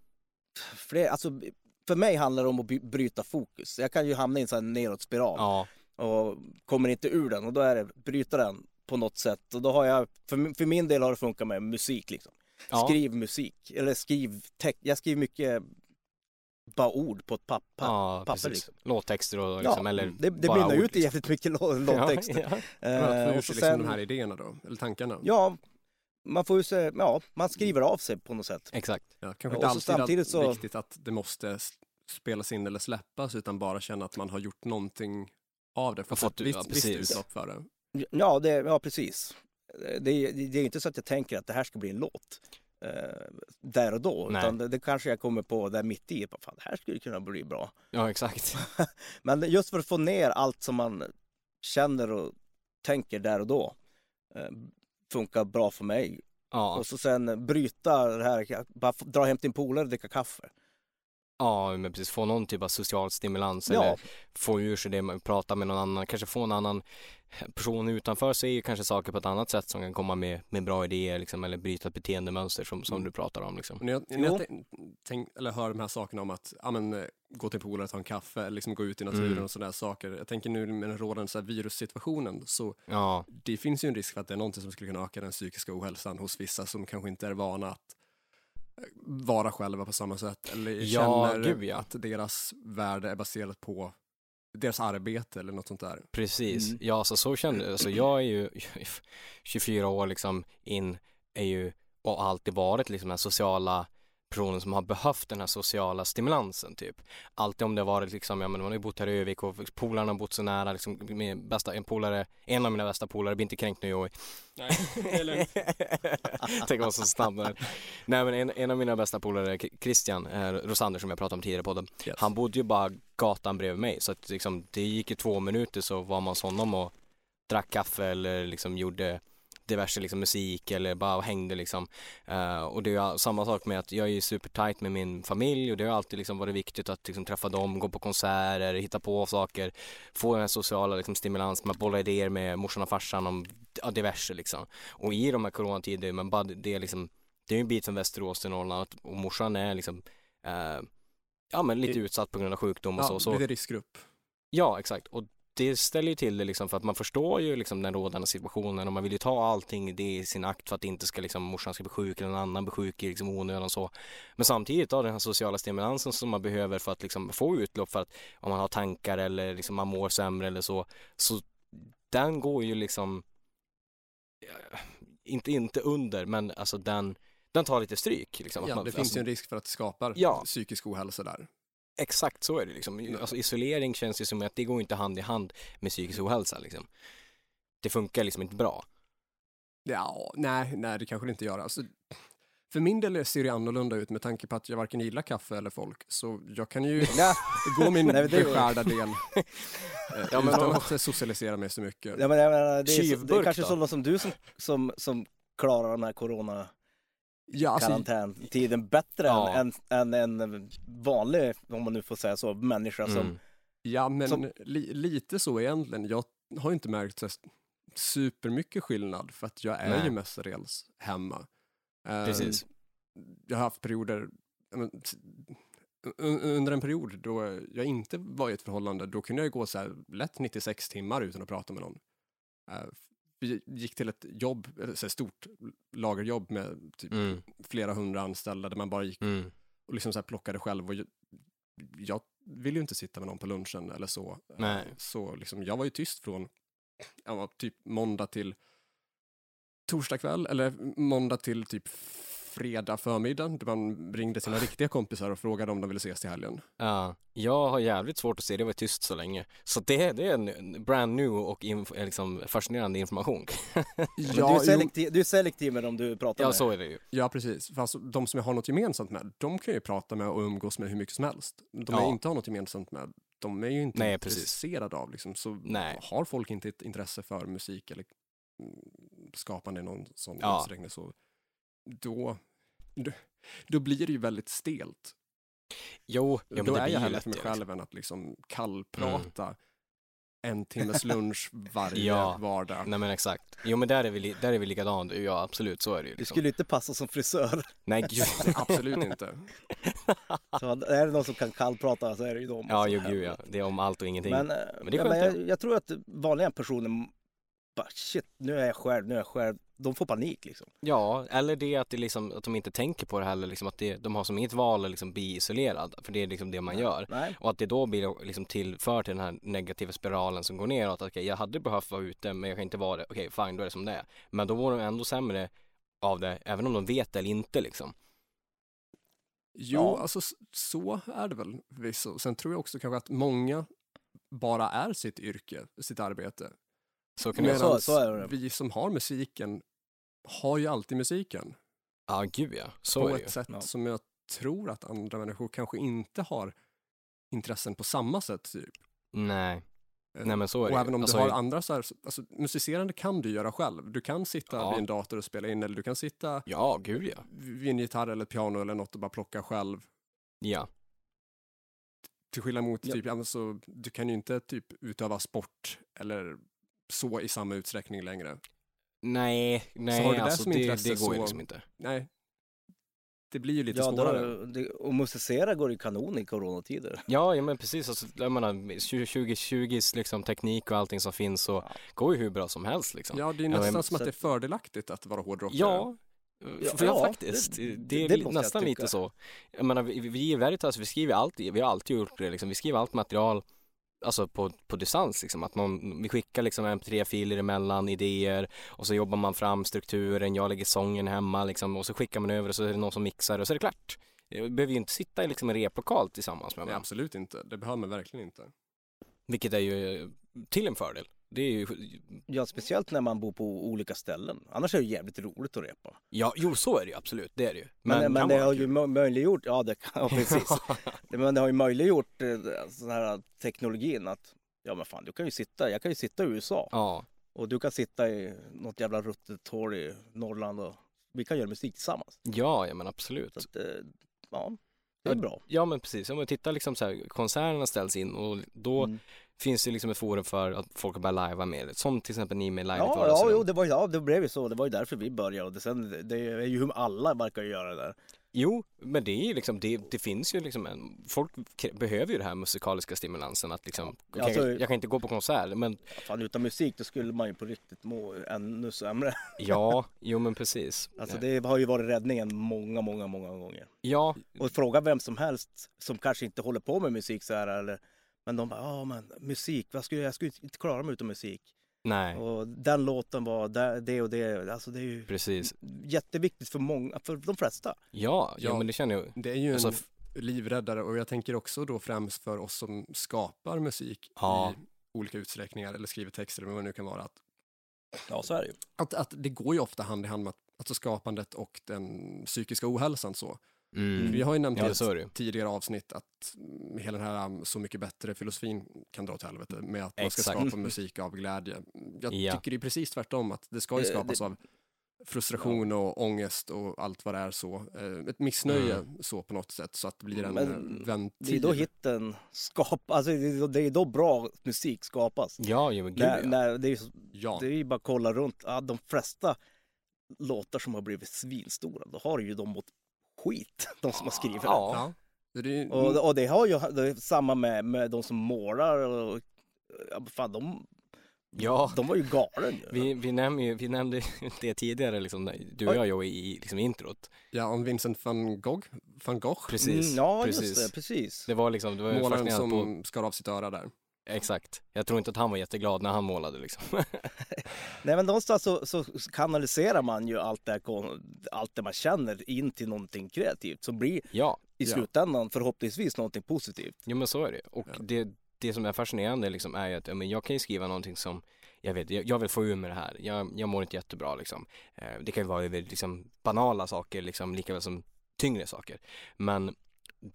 Speaker 3: fler, alltså för mig handlar det om att by- bryta fokus. Jag kan ju hamna i en sån här nedåtspiral
Speaker 1: Ja,
Speaker 3: och kommer inte ur den och då är det bryta den på något sätt. Och då har jag, för, min- för min del har det funkat med musik liksom.
Speaker 1: ja.
Speaker 3: Skriv musik, eller skriv text. Jag skriver mycket bara ord på ett papper.
Speaker 1: ja,
Speaker 3: papper
Speaker 1: precis.
Speaker 3: liksom.
Speaker 1: Låttexter och liksom, eller
Speaker 3: det det
Speaker 1: bara
Speaker 3: mynnar
Speaker 1: ord, liksom.
Speaker 3: ut i jävligt mycket lå- låttexter.
Speaker 1: Ja, ja.
Speaker 2: Man får
Speaker 3: Eh,
Speaker 2: ur sig
Speaker 3: och så
Speaker 2: liksom de här
Speaker 3: sen,
Speaker 2: idéerna då, eller tankarna.
Speaker 3: ja, man får ju se, ja, man skriver av sig på något sätt.
Speaker 1: Exakt.
Speaker 2: Ja, kanske
Speaker 3: Ja, och
Speaker 2: inte
Speaker 3: så
Speaker 2: alltid
Speaker 3: samtidigt så-
Speaker 2: viktigt att det måste s- spelas in eller släppas utan bara känna att man har gjort någonting av det. För
Speaker 1: Och
Speaker 2: att
Speaker 1: fått
Speaker 2: ett
Speaker 1: ut-
Speaker 2: visst,
Speaker 1: ja,
Speaker 2: visst
Speaker 1: precis.
Speaker 2: utlopp för det.
Speaker 3: Ja, det, ja precis. Eh, Det, är- det är inte så att jag tänker att det här ska bli en låt eh, där och då,
Speaker 1: Nej.
Speaker 3: utan det, det kanske jag kommer på där mitt i. bara, Fan, det här skulle kunna bli bra.
Speaker 1: Ja, exakt.
Speaker 3: Men just för att få ner allt som man känner och tänker där och då eh, funkar bra för mig.
Speaker 1: Ja,
Speaker 3: Och så sen bryta det här, bara f- dra hem till en polare och dricka kaffe.
Speaker 1: ja, men precis. Få någon typ av social stimulans
Speaker 3: Ja,
Speaker 1: eller få ur sig det, man- prata med någon annan, kanske få en annan person utanför sig, kanske saker på ett annat sätt som kan komma med, med bra idéer liksom, eller bryta ett beteendemönster som, som
Speaker 2: Mm.
Speaker 1: du pratar om liksom.
Speaker 2: Och när jag, när jag
Speaker 3: Jo.
Speaker 2: tän- tänk, eller hör de här sakerna om att ja, men, eh, gå till en polare, ta en kaffe, eller liksom gå ut i naturen
Speaker 1: Mm.
Speaker 2: och sådana saker. Jag tänker nu med den rådande så här virussituationen så
Speaker 1: Ja,
Speaker 2: det finns ju en risk för att det är någonting som skulle kunna öka den psykiska ohälsan hos vissa som kanske inte är vana att eh, vara själva på samma sätt eller
Speaker 1: Ja,
Speaker 2: känner
Speaker 1: gud, ja.
Speaker 2: att deras värde är baserat på deras arbete eller något sånt där.
Speaker 1: precis.
Speaker 3: Mm.
Speaker 1: Ja, så, så kände jag. Alltså, jag är ju 24 år liksom in, är ju och har alltid varit liksom den här sociala personen som har behövt den här sociala stimulansen typ. Alltid om det har varit liksom, ja men man har ju bott här i Övik och polarna har bott så nära liksom, min bästa, en polare, en av mina bästa polare, blir inte kränkt nu Joey.
Speaker 2: Nej,
Speaker 1: Tänk vad så snabb den är. Nej men en, en av mina bästa polare, K- Christian eh, Rosander som jag pratade om tidigare i podden,
Speaker 2: Yes.
Speaker 1: han bodde ju bara gatan bredvid mig så att liksom, det gick ju två minuter så var man hos honom och drack kaffe eller liksom gjorde diverse liksom musik eller bara hängde liksom. Eh, och det är ju all- samma sak med att jag är ju supertight med min familj och det har alltid liksom varit viktigt att liksom träffa dem, gå på konserter, hitta på saker, få den här sociala liksom stimulansen, att bolla idéer med morsan och farsan om ja, diverse liksom. Och i de här coronatider, men bara det är liksom, det är ju en bit från Västerås till Norrland att- och morsan är liksom, eh, ja men lite
Speaker 2: Det-
Speaker 1: utsatt på grund av sjukdom och
Speaker 2: ja,
Speaker 1: så. så
Speaker 2: Lite riskgrupp.
Speaker 1: Ja, exakt. Och det ställer ju till det liksom för att man förstår ju liksom den rådande situationen och man vill ju ta allting i det i sin akt för att det inte ska liksom morsan ska bli sjuk eller någon annan bli sjuk i liksom onödan och så. Men samtidigt då den här sociala stimulansen som man behöver för att liksom få utlopp för att om man har tankar eller liksom man mår sämre eller så, så den går ju liksom eh, inte, inte under men alltså den, den tar lite stryk liksom. Att
Speaker 2: Ja,
Speaker 1: man-
Speaker 2: det finns
Speaker 1: alltså,
Speaker 2: ju en risk för att det skapar
Speaker 1: Ja.
Speaker 2: psykisk ohälsa där.
Speaker 1: Exakt så är det liksom. Alltså, isolering känns ju som att det går inte hand i hand med psykisk ohälsa liksom. Det funkar liksom inte bra.
Speaker 2: Ja, nej, nej, det kanske det inte gör. Alltså, för min del ser det annorlunda ut med tanke på att jag varken gillar kaffe eller folk, så jag kan ju
Speaker 3: Nej,
Speaker 2: gå min
Speaker 3: Nej, men det-
Speaker 2: beskärda del eh,
Speaker 1: Ja, men
Speaker 2: utan
Speaker 1: om-
Speaker 2: att socialisera mig så mycket.
Speaker 3: ja, men jag menar, det, är, det är
Speaker 1: Tjuvburk
Speaker 3: kanske
Speaker 1: då?
Speaker 3: sådana som du som, som, som klarar den här corona
Speaker 2: Ja, alltså,
Speaker 3: karantäntiden bättre
Speaker 1: Ja.
Speaker 3: än, än, än en vanlig, om man nu får säga så, människa som...
Speaker 1: Mm.
Speaker 2: ja, men
Speaker 3: Som-
Speaker 2: li, lite så egentligen. Jag har ju inte märkt så här supermycket skillnad för att jag är
Speaker 1: Nej.
Speaker 2: ju mestadels hemma. Eh,
Speaker 1: Precis.
Speaker 2: jag har haft perioder, ja, men, t- un- under en period då jag inte var i ett förhållande, då kunde jag ju gå så här lätt 96 timmar utan att prata med någon. Eh, Vi gick till ett jobb, eller så här stort lagerjobb med typ
Speaker 1: Mm.
Speaker 2: flera hundra anställda där man bara gick
Speaker 1: Mm.
Speaker 2: och liksom så här plockade själv och jag, jag vill ju inte sitta med någon på lunchen eller så.
Speaker 1: Nej.
Speaker 2: Så liksom, jag var ju tyst från jag var typ måndag till torsdag kväll eller måndag till typ fredag förmiddag där man ringde
Speaker 1: Ah.
Speaker 2: sina riktiga kompisar och frågade om de ville ses till helgen.
Speaker 1: Ja, jag har jävligt svårt att se det var tyst så länge. Så det, det är en brand new och inf- liksom fascinerande information.
Speaker 3: Men du, är selektiv, du är selektiv med dem du pratar
Speaker 1: Ja,
Speaker 3: med.
Speaker 1: så är det ju.
Speaker 2: Ja, precis. För alltså, de som jag har något gemensamt med, de kan jag ju prata med och umgås med hur mycket som helst. De
Speaker 1: Ja.
Speaker 2: jag inte har något gemensamt med, de är ju inte
Speaker 1: Nej, precis.
Speaker 2: intresserade av. Liksom. Så
Speaker 1: Nej.
Speaker 2: har folk inte ett intresse för musik eller mm, skapande i någon sån
Speaker 1: Ja.
Speaker 2: utsträckning, så då, då, då blir det ju väldigt stelt.
Speaker 1: Jo, ja, men
Speaker 2: då
Speaker 1: det
Speaker 2: är
Speaker 1: blir
Speaker 2: jag
Speaker 1: ju
Speaker 2: hellre
Speaker 1: lätt Mm.
Speaker 2: för mig
Speaker 1: det,
Speaker 2: själv än att liksom kallprata en timmes lunch varje
Speaker 1: Ja.
Speaker 2: vardag.
Speaker 1: Liksom. Nej men exakt. Jo men där är vi, li- där är vi likadant. Ja absolut, så är det ju.
Speaker 3: Du
Speaker 1: Liksom.
Speaker 3: skulle ju inte passa som frisör.
Speaker 1: Nej gud.
Speaker 2: Absolut inte.
Speaker 3: Så är det någon som kan kallprata så är det ju de.
Speaker 1: Ja,
Speaker 3: Alltså,
Speaker 1: jo gud ja. Det är om allt och ingenting.
Speaker 3: Men, eh,
Speaker 1: Men det är
Speaker 3: ja, men
Speaker 1: skönt,
Speaker 3: jag, jag tror att vanliga personer bara shit, nu är jag själv, nu är jag själv. De får panik liksom.
Speaker 1: Ja, eller det att, det liksom, att de inte tänker på det heller, liksom att det, de har som inget val att liksom bli isolerad, för det är liksom det man gör.
Speaker 3: Nej,
Speaker 1: Och att det då blir liksom tillför till den här negativa spiralen som går neråt. Att okej, jag hade behövt vara ute men jag kan inte vara det. Okej, fine, då är det som det är. Men då mår de ändå sämre av det, även om de vet det eller inte liksom.
Speaker 2: Jo,
Speaker 3: Ja.
Speaker 2: alltså s- så är det väl förvisso. Sen tror jag också kanske att många bara är sitt yrke, sitt arbete.
Speaker 1: Så kan det
Speaker 3: Men-
Speaker 1: vara.
Speaker 3: så-
Speaker 2: Medan
Speaker 3: så är det.
Speaker 2: vi som har musiken har ju alltid musiken
Speaker 1: Ja, gud ja. Så
Speaker 2: på
Speaker 1: är det ju.
Speaker 2: ett sätt
Speaker 3: Ja.
Speaker 2: som jag tror att andra människor kanske inte har intressen på samma sätt. Typ.
Speaker 1: Nej,
Speaker 2: Eh,
Speaker 1: nej men så är det
Speaker 2: och
Speaker 1: ju.
Speaker 2: även om
Speaker 1: Alltså,
Speaker 2: du har andra så här, alltså musicerande kan du göra själv. Du kan sitta
Speaker 1: Ja.
Speaker 2: vid en dator och spela in eller du kan sitta
Speaker 1: Ja, gud ja.
Speaker 2: vid en gitarr eller ett piano eller något och bara plocka själv.
Speaker 1: Ja,
Speaker 2: Till skillnad mot,
Speaker 3: Ja.
Speaker 2: typ, ja. men så, du kan ju inte typ utöva sport eller så i samma utsträckning längre.
Speaker 1: nej, nej,
Speaker 2: Så har du det
Speaker 1: alltså
Speaker 2: som
Speaker 1: det,
Speaker 2: intresse
Speaker 1: det går ju
Speaker 2: så-
Speaker 1: liksom inte.
Speaker 2: Nej, det blir ju lite
Speaker 3: ja, då,
Speaker 2: svårare.
Speaker 3: det, och musicera går ju kanon i coronatider.
Speaker 1: Ja, ja men precis. Alltså, jag menar, 2020s liksom, teknik och allting som finns så
Speaker 3: Ja.
Speaker 1: går ju hur bra som helst liksom.
Speaker 2: Ja, det är
Speaker 1: Ja,
Speaker 2: nästan
Speaker 1: men-
Speaker 2: som att
Speaker 3: så-
Speaker 2: det är fördelaktigt att vara hårdrockare.
Speaker 1: Ja,
Speaker 3: Ja,
Speaker 1: för ja,
Speaker 3: ja,
Speaker 1: faktiskt.
Speaker 3: det-
Speaker 1: Det,
Speaker 3: det-
Speaker 1: är
Speaker 3: det
Speaker 1: li-
Speaker 3: måste jag
Speaker 1: nästan
Speaker 3: tycka.
Speaker 1: lite så. Jag menar, vi, vi i Veritas, vi skriver allt, vi har alltid gjort det liksom. Vi skriver allt material Alltså på, på distans liksom, att man, vi skickar liksom mp3-filer emellan, idéer och så jobbar man fram strukturen, jag lägger sången hemma liksom och så skickar man över och så är det någon som mixar och så är det klart. Vi behöver ju inte sitta i liksom en replokal tillsammans med
Speaker 2: Nej,
Speaker 1: varandra,
Speaker 2: absolut inte. Det behöver man verkligen inte.
Speaker 1: vilket är ju eh, till en fördel. Det är ju,
Speaker 3: Ja, speciellt när man bor på olika ställen. Annars är det jävligt roligt att repa.
Speaker 1: ja, jo så är det ju absolut, det är det ju.
Speaker 3: Men, eh, men,
Speaker 1: kan
Speaker 3: det
Speaker 1: vara
Speaker 3: har
Speaker 1: kul.
Speaker 3: ju mö- möjliggjort, ja det kan, ja, precis. Det- men det har ju möjliggjort eh, sån här teknologin att ja men fan du kan ju sitta, jag kan ju sitta i USA
Speaker 1: ja,
Speaker 3: och du kan sitta i något jävla ruttet torg i Norrland och vi kan göra musik tillsammans.
Speaker 1: ja, ja men absolut.
Speaker 3: Så att, eh, ja, det är
Speaker 1: Ja,
Speaker 3: bra.
Speaker 1: Ja men precis, om man tittar liksom så här, konserterna ställs in och då
Speaker 3: Mm.
Speaker 1: finns det liksom ett forum för att folk börjar lajva mer, som till exempel ni med live i ett
Speaker 3: Ja, ja,
Speaker 1: vardagsrum.
Speaker 3: jo, det var, ju- ja, det blev ju så. Det var ju därför vi började och det, sen, det är ju hur alla verkar göra det där.
Speaker 1: Jo, men det är ju liksom, det, det finns ju liksom en, folk k- behöver ju den här musikaliska stimulansen att liksom, okej,
Speaker 3: Alltså-
Speaker 1: jag kan inte gå på konsert, men
Speaker 3: Fan, utan musik då skulle man ju på riktigt må ännu sämre.
Speaker 1: ja, jo men precis.
Speaker 3: Alltså det har ju varit räddningen många, många, många gånger.
Speaker 1: Ja,
Speaker 3: Och fråga vem som helst som kanske inte håller på med musik så här eller men de bara, ja men musik, vad skulle, jag jag skulle inte klara mig utan musik.
Speaker 1: nej,
Speaker 3: Och den låten var där- det och det, alltså det är ju
Speaker 1: precis.
Speaker 3: jätteviktigt för många, för de flesta.
Speaker 1: Ja, ja,
Speaker 2: Ja.
Speaker 1: men det känner jag.
Speaker 2: Det är ju en
Speaker 1: Alltså, f-
Speaker 2: livräddare och jag tänker också då främst för oss som skapar musik
Speaker 1: Ja.
Speaker 2: i olika utsträckningar eller skriver texter eller vad det nu kan vara. Att,
Speaker 3: Ja, så är det ju.
Speaker 2: att, att det går ju ofta hand i hand med att, alltså skapandet och den psykiska ohälsan så.
Speaker 1: Mm.
Speaker 2: Vi har ju nämnt
Speaker 1: Ja,
Speaker 2: i ett
Speaker 1: så är det ju.
Speaker 2: tidigare avsnitt att mm, hela den här um, så mycket bättre-filosofin kan dra åt helvete med att man ska
Speaker 1: Exakt.
Speaker 2: skapa musik av glädje. Jag
Speaker 1: Ja.
Speaker 2: tycker det är precis tvärtom, att det ska ju
Speaker 3: Eh, Det-
Speaker 2: skapas
Speaker 3: det-
Speaker 2: av frustration och ångest och allt vad det är så. Eh, Ett missnöje
Speaker 1: Mm.
Speaker 2: så på något sätt så att det blir en
Speaker 3: Men
Speaker 2: eh,
Speaker 3: Det är
Speaker 2: ventil.
Speaker 3: då hitten skapas, alltså det är då, det är då bra musik skapas.
Speaker 1: Ja, jo men gud
Speaker 3: När,
Speaker 1: ja.
Speaker 3: när det, är, ju så-
Speaker 2: ja.
Speaker 3: det är ju bara att kolla runt, ja, de flesta låtar som har blivit svinstora, då har ju de mått skit, de som har skrivit det.
Speaker 1: Ja,
Speaker 2: ja. Det är ju-
Speaker 3: Och, och det har ju det är samma med, med de som målar och ja, men fan de,
Speaker 1: ja.
Speaker 3: de var ju galen ju.
Speaker 1: Vi, vi, nämnde ju, vi nämnde ju det tidigare, liksom, när du och jag Joey, i liksom, introt.
Speaker 2: ja, om Vincent van Gogh, van Gogh
Speaker 1: Precis,
Speaker 3: Mm, ja,
Speaker 1: precis.
Speaker 3: just det, precis.
Speaker 1: Det var liksom, det var ju
Speaker 2: målaren
Speaker 1: fascinerande
Speaker 2: som
Speaker 1: på,
Speaker 2: skar av sitt öra där.
Speaker 1: exakt. Jag tror inte att han var jätteglad när han målade liksom.
Speaker 3: Nej men någonstans så, så kanaliserar man ju allt det, här, kon- allt det man känner in till någonting kreativt som blir
Speaker 1: ja,
Speaker 3: i
Speaker 2: Ja.
Speaker 3: slutändan förhoppningsvis någonting positivt.
Speaker 1: jo men så är det. Och
Speaker 2: Ja.
Speaker 1: det, det som är fascinerande liksom är ju att, ja, men jag kan ju skriva någonting som, jag vet, jag, jag vill få ur mig det här. Jag, jag mår inte jättebra liksom. Eh, det kan ju vara över liksom banala saker liksom, lika väl som tyngre saker. Men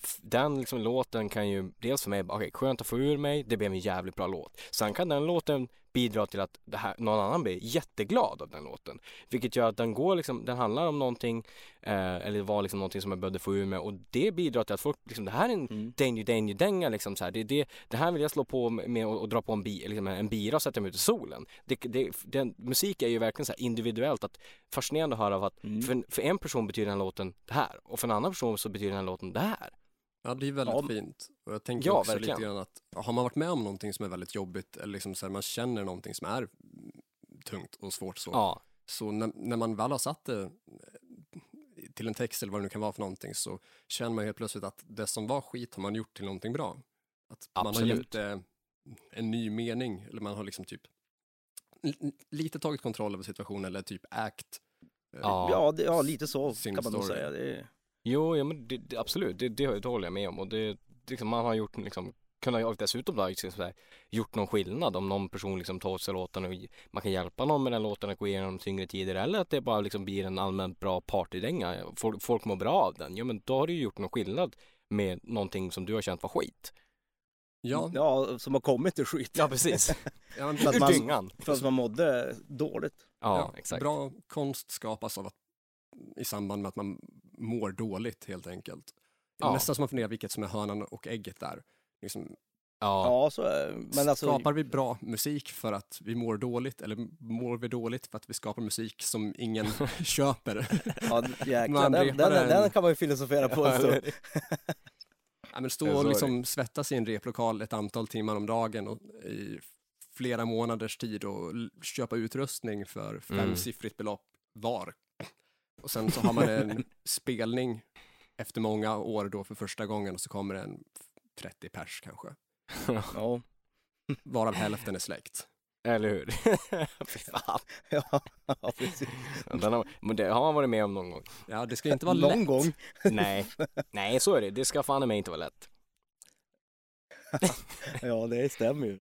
Speaker 1: f- den liksom låten kan ju, dels för mig, bara, okej skönt att få ur mig, det blev en jävligt bra låt. Sen kan den låten bidra till att det här, någon annan blir jätteglad av den låten. Vilket gör att den går liksom, den handlar om någonting, eh, eller var liksom någonting som jag behövde få ur mig och det bidrar till att folk, liksom det här är en
Speaker 3: Mm.
Speaker 1: danger danger dänga liksom så här. Det, det, det här vill jag slå på med och, och dra på en, bi, liksom en bira och sätta mig ut i solen. Det, det, den, musik är ju verkligen så här individuellt, att, fascinerande att höra av att
Speaker 3: Mm.
Speaker 1: för, för en person betyder den här låten det här och för en annan person så betyder den här låten det här.
Speaker 2: Ja, det är väldigt
Speaker 3: Ja.
Speaker 2: fint. Och jag tänker
Speaker 1: Ja,
Speaker 2: också
Speaker 1: verkligen.
Speaker 2: lite grann att har man varit med om någonting som är väldigt jobbigt eller liksom så här, man känner någonting som är tungt och svårt så.
Speaker 1: Ja,
Speaker 2: Så när, när man väl har satt det eh, till en text eller vad det nu kan vara för någonting så känner man helt plötsligt att det som var skit har man gjort till någonting bra. Att man har
Speaker 1: Absolut.
Speaker 2: gett det en ny mening eller man har liksom typ l- lite tagit kontroll över situationen eller typ ägt. eh,
Speaker 1: Ja.
Speaker 3: Ja, det, ja lite så
Speaker 2: Sin
Speaker 3: kan man nog
Speaker 2: story.
Speaker 3: säga. Det är...
Speaker 1: jo, ja, men det, det, absolut, det, det, det håller jag med om och det, det liksom, man har gjort liksom kunnat jag dessutom då, liksom, så här, gjort någon skillnad om någon person liksom tar åt sig låten och man kan hjälpa någon med den låten att gå igenom tyngre tider eller att det bara liksom blir en allmänt bra partydänga. Folk, folk mår bra av den. Ja, men då har du ju gjort någon skillnad med någonting som du har känt var skit.
Speaker 2: Ja,
Speaker 1: Mm.
Speaker 3: ja, som har kommit ur skit.
Speaker 1: Ja, precis.
Speaker 2: ja,
Speaker 3: För att
Speaker 1: Ur
Speaker 3: man-
Speaker 1: dyngan.
Speaker 3: För att man mådde dåligt.
Speaker 1: Ja, exakt.
Speaker 2: Bra konst skapas av att, i samband med att man mår dåligt helt enkelt. Det är
Speaker 1: Ja.
Speaker 2: Nästan som man funderar vilket som är hönan och ägget där. Liksom,
Speaker 1: Ja,
Speaker 3: Ja, så är det. Men alltså,
Speaker 2: skapar vi bra musik för att vi mår dåligt eller mår vi dåligt för att vi skapar musik som ingen köper?
Speaker 3: ja, jäklar,
Speaker 2: Man
Speaker 3: den,
Speaker 2: repar
Speaker 3: den, den.
Speaker 2: en-
Speaker 3: kan man ju filosofera på en stund.
Speaker 2: Ja, men
Speaker 1: Ja,
Speaker 2: stå
Speaker 1: så är
Speaker 2: och
Speaker 1: det.
Speaker 2: liksom svettas i en replokal ett antal timmar om dagen och i flera månaders tid och l- köpa utrustning
Speaker 3: Mm.
Speaker 2: för femsiffrigt belopp var. Och sen så har man en spelning efter många år då för första gången och så kommer det en 30 pers kanske,
Speaker 3: Ja,
Speaker 2: varav hälften är släkt.
Speaker 1: eller hur? Fy fan.
Speaker 3: ja, ja, precis.
Speaker 1: Den har, men det har man varit med om någon gång.
Speaker 2: Ja, det ska inte vara
Speaker 3: Någon
Speaker 2: lätt.
Speaker 3: gång.
Speaker 1: Nej, nej så är det. Det ska fan mig inte vara lätt.
Speaker 3: Ja, det stämmer ju.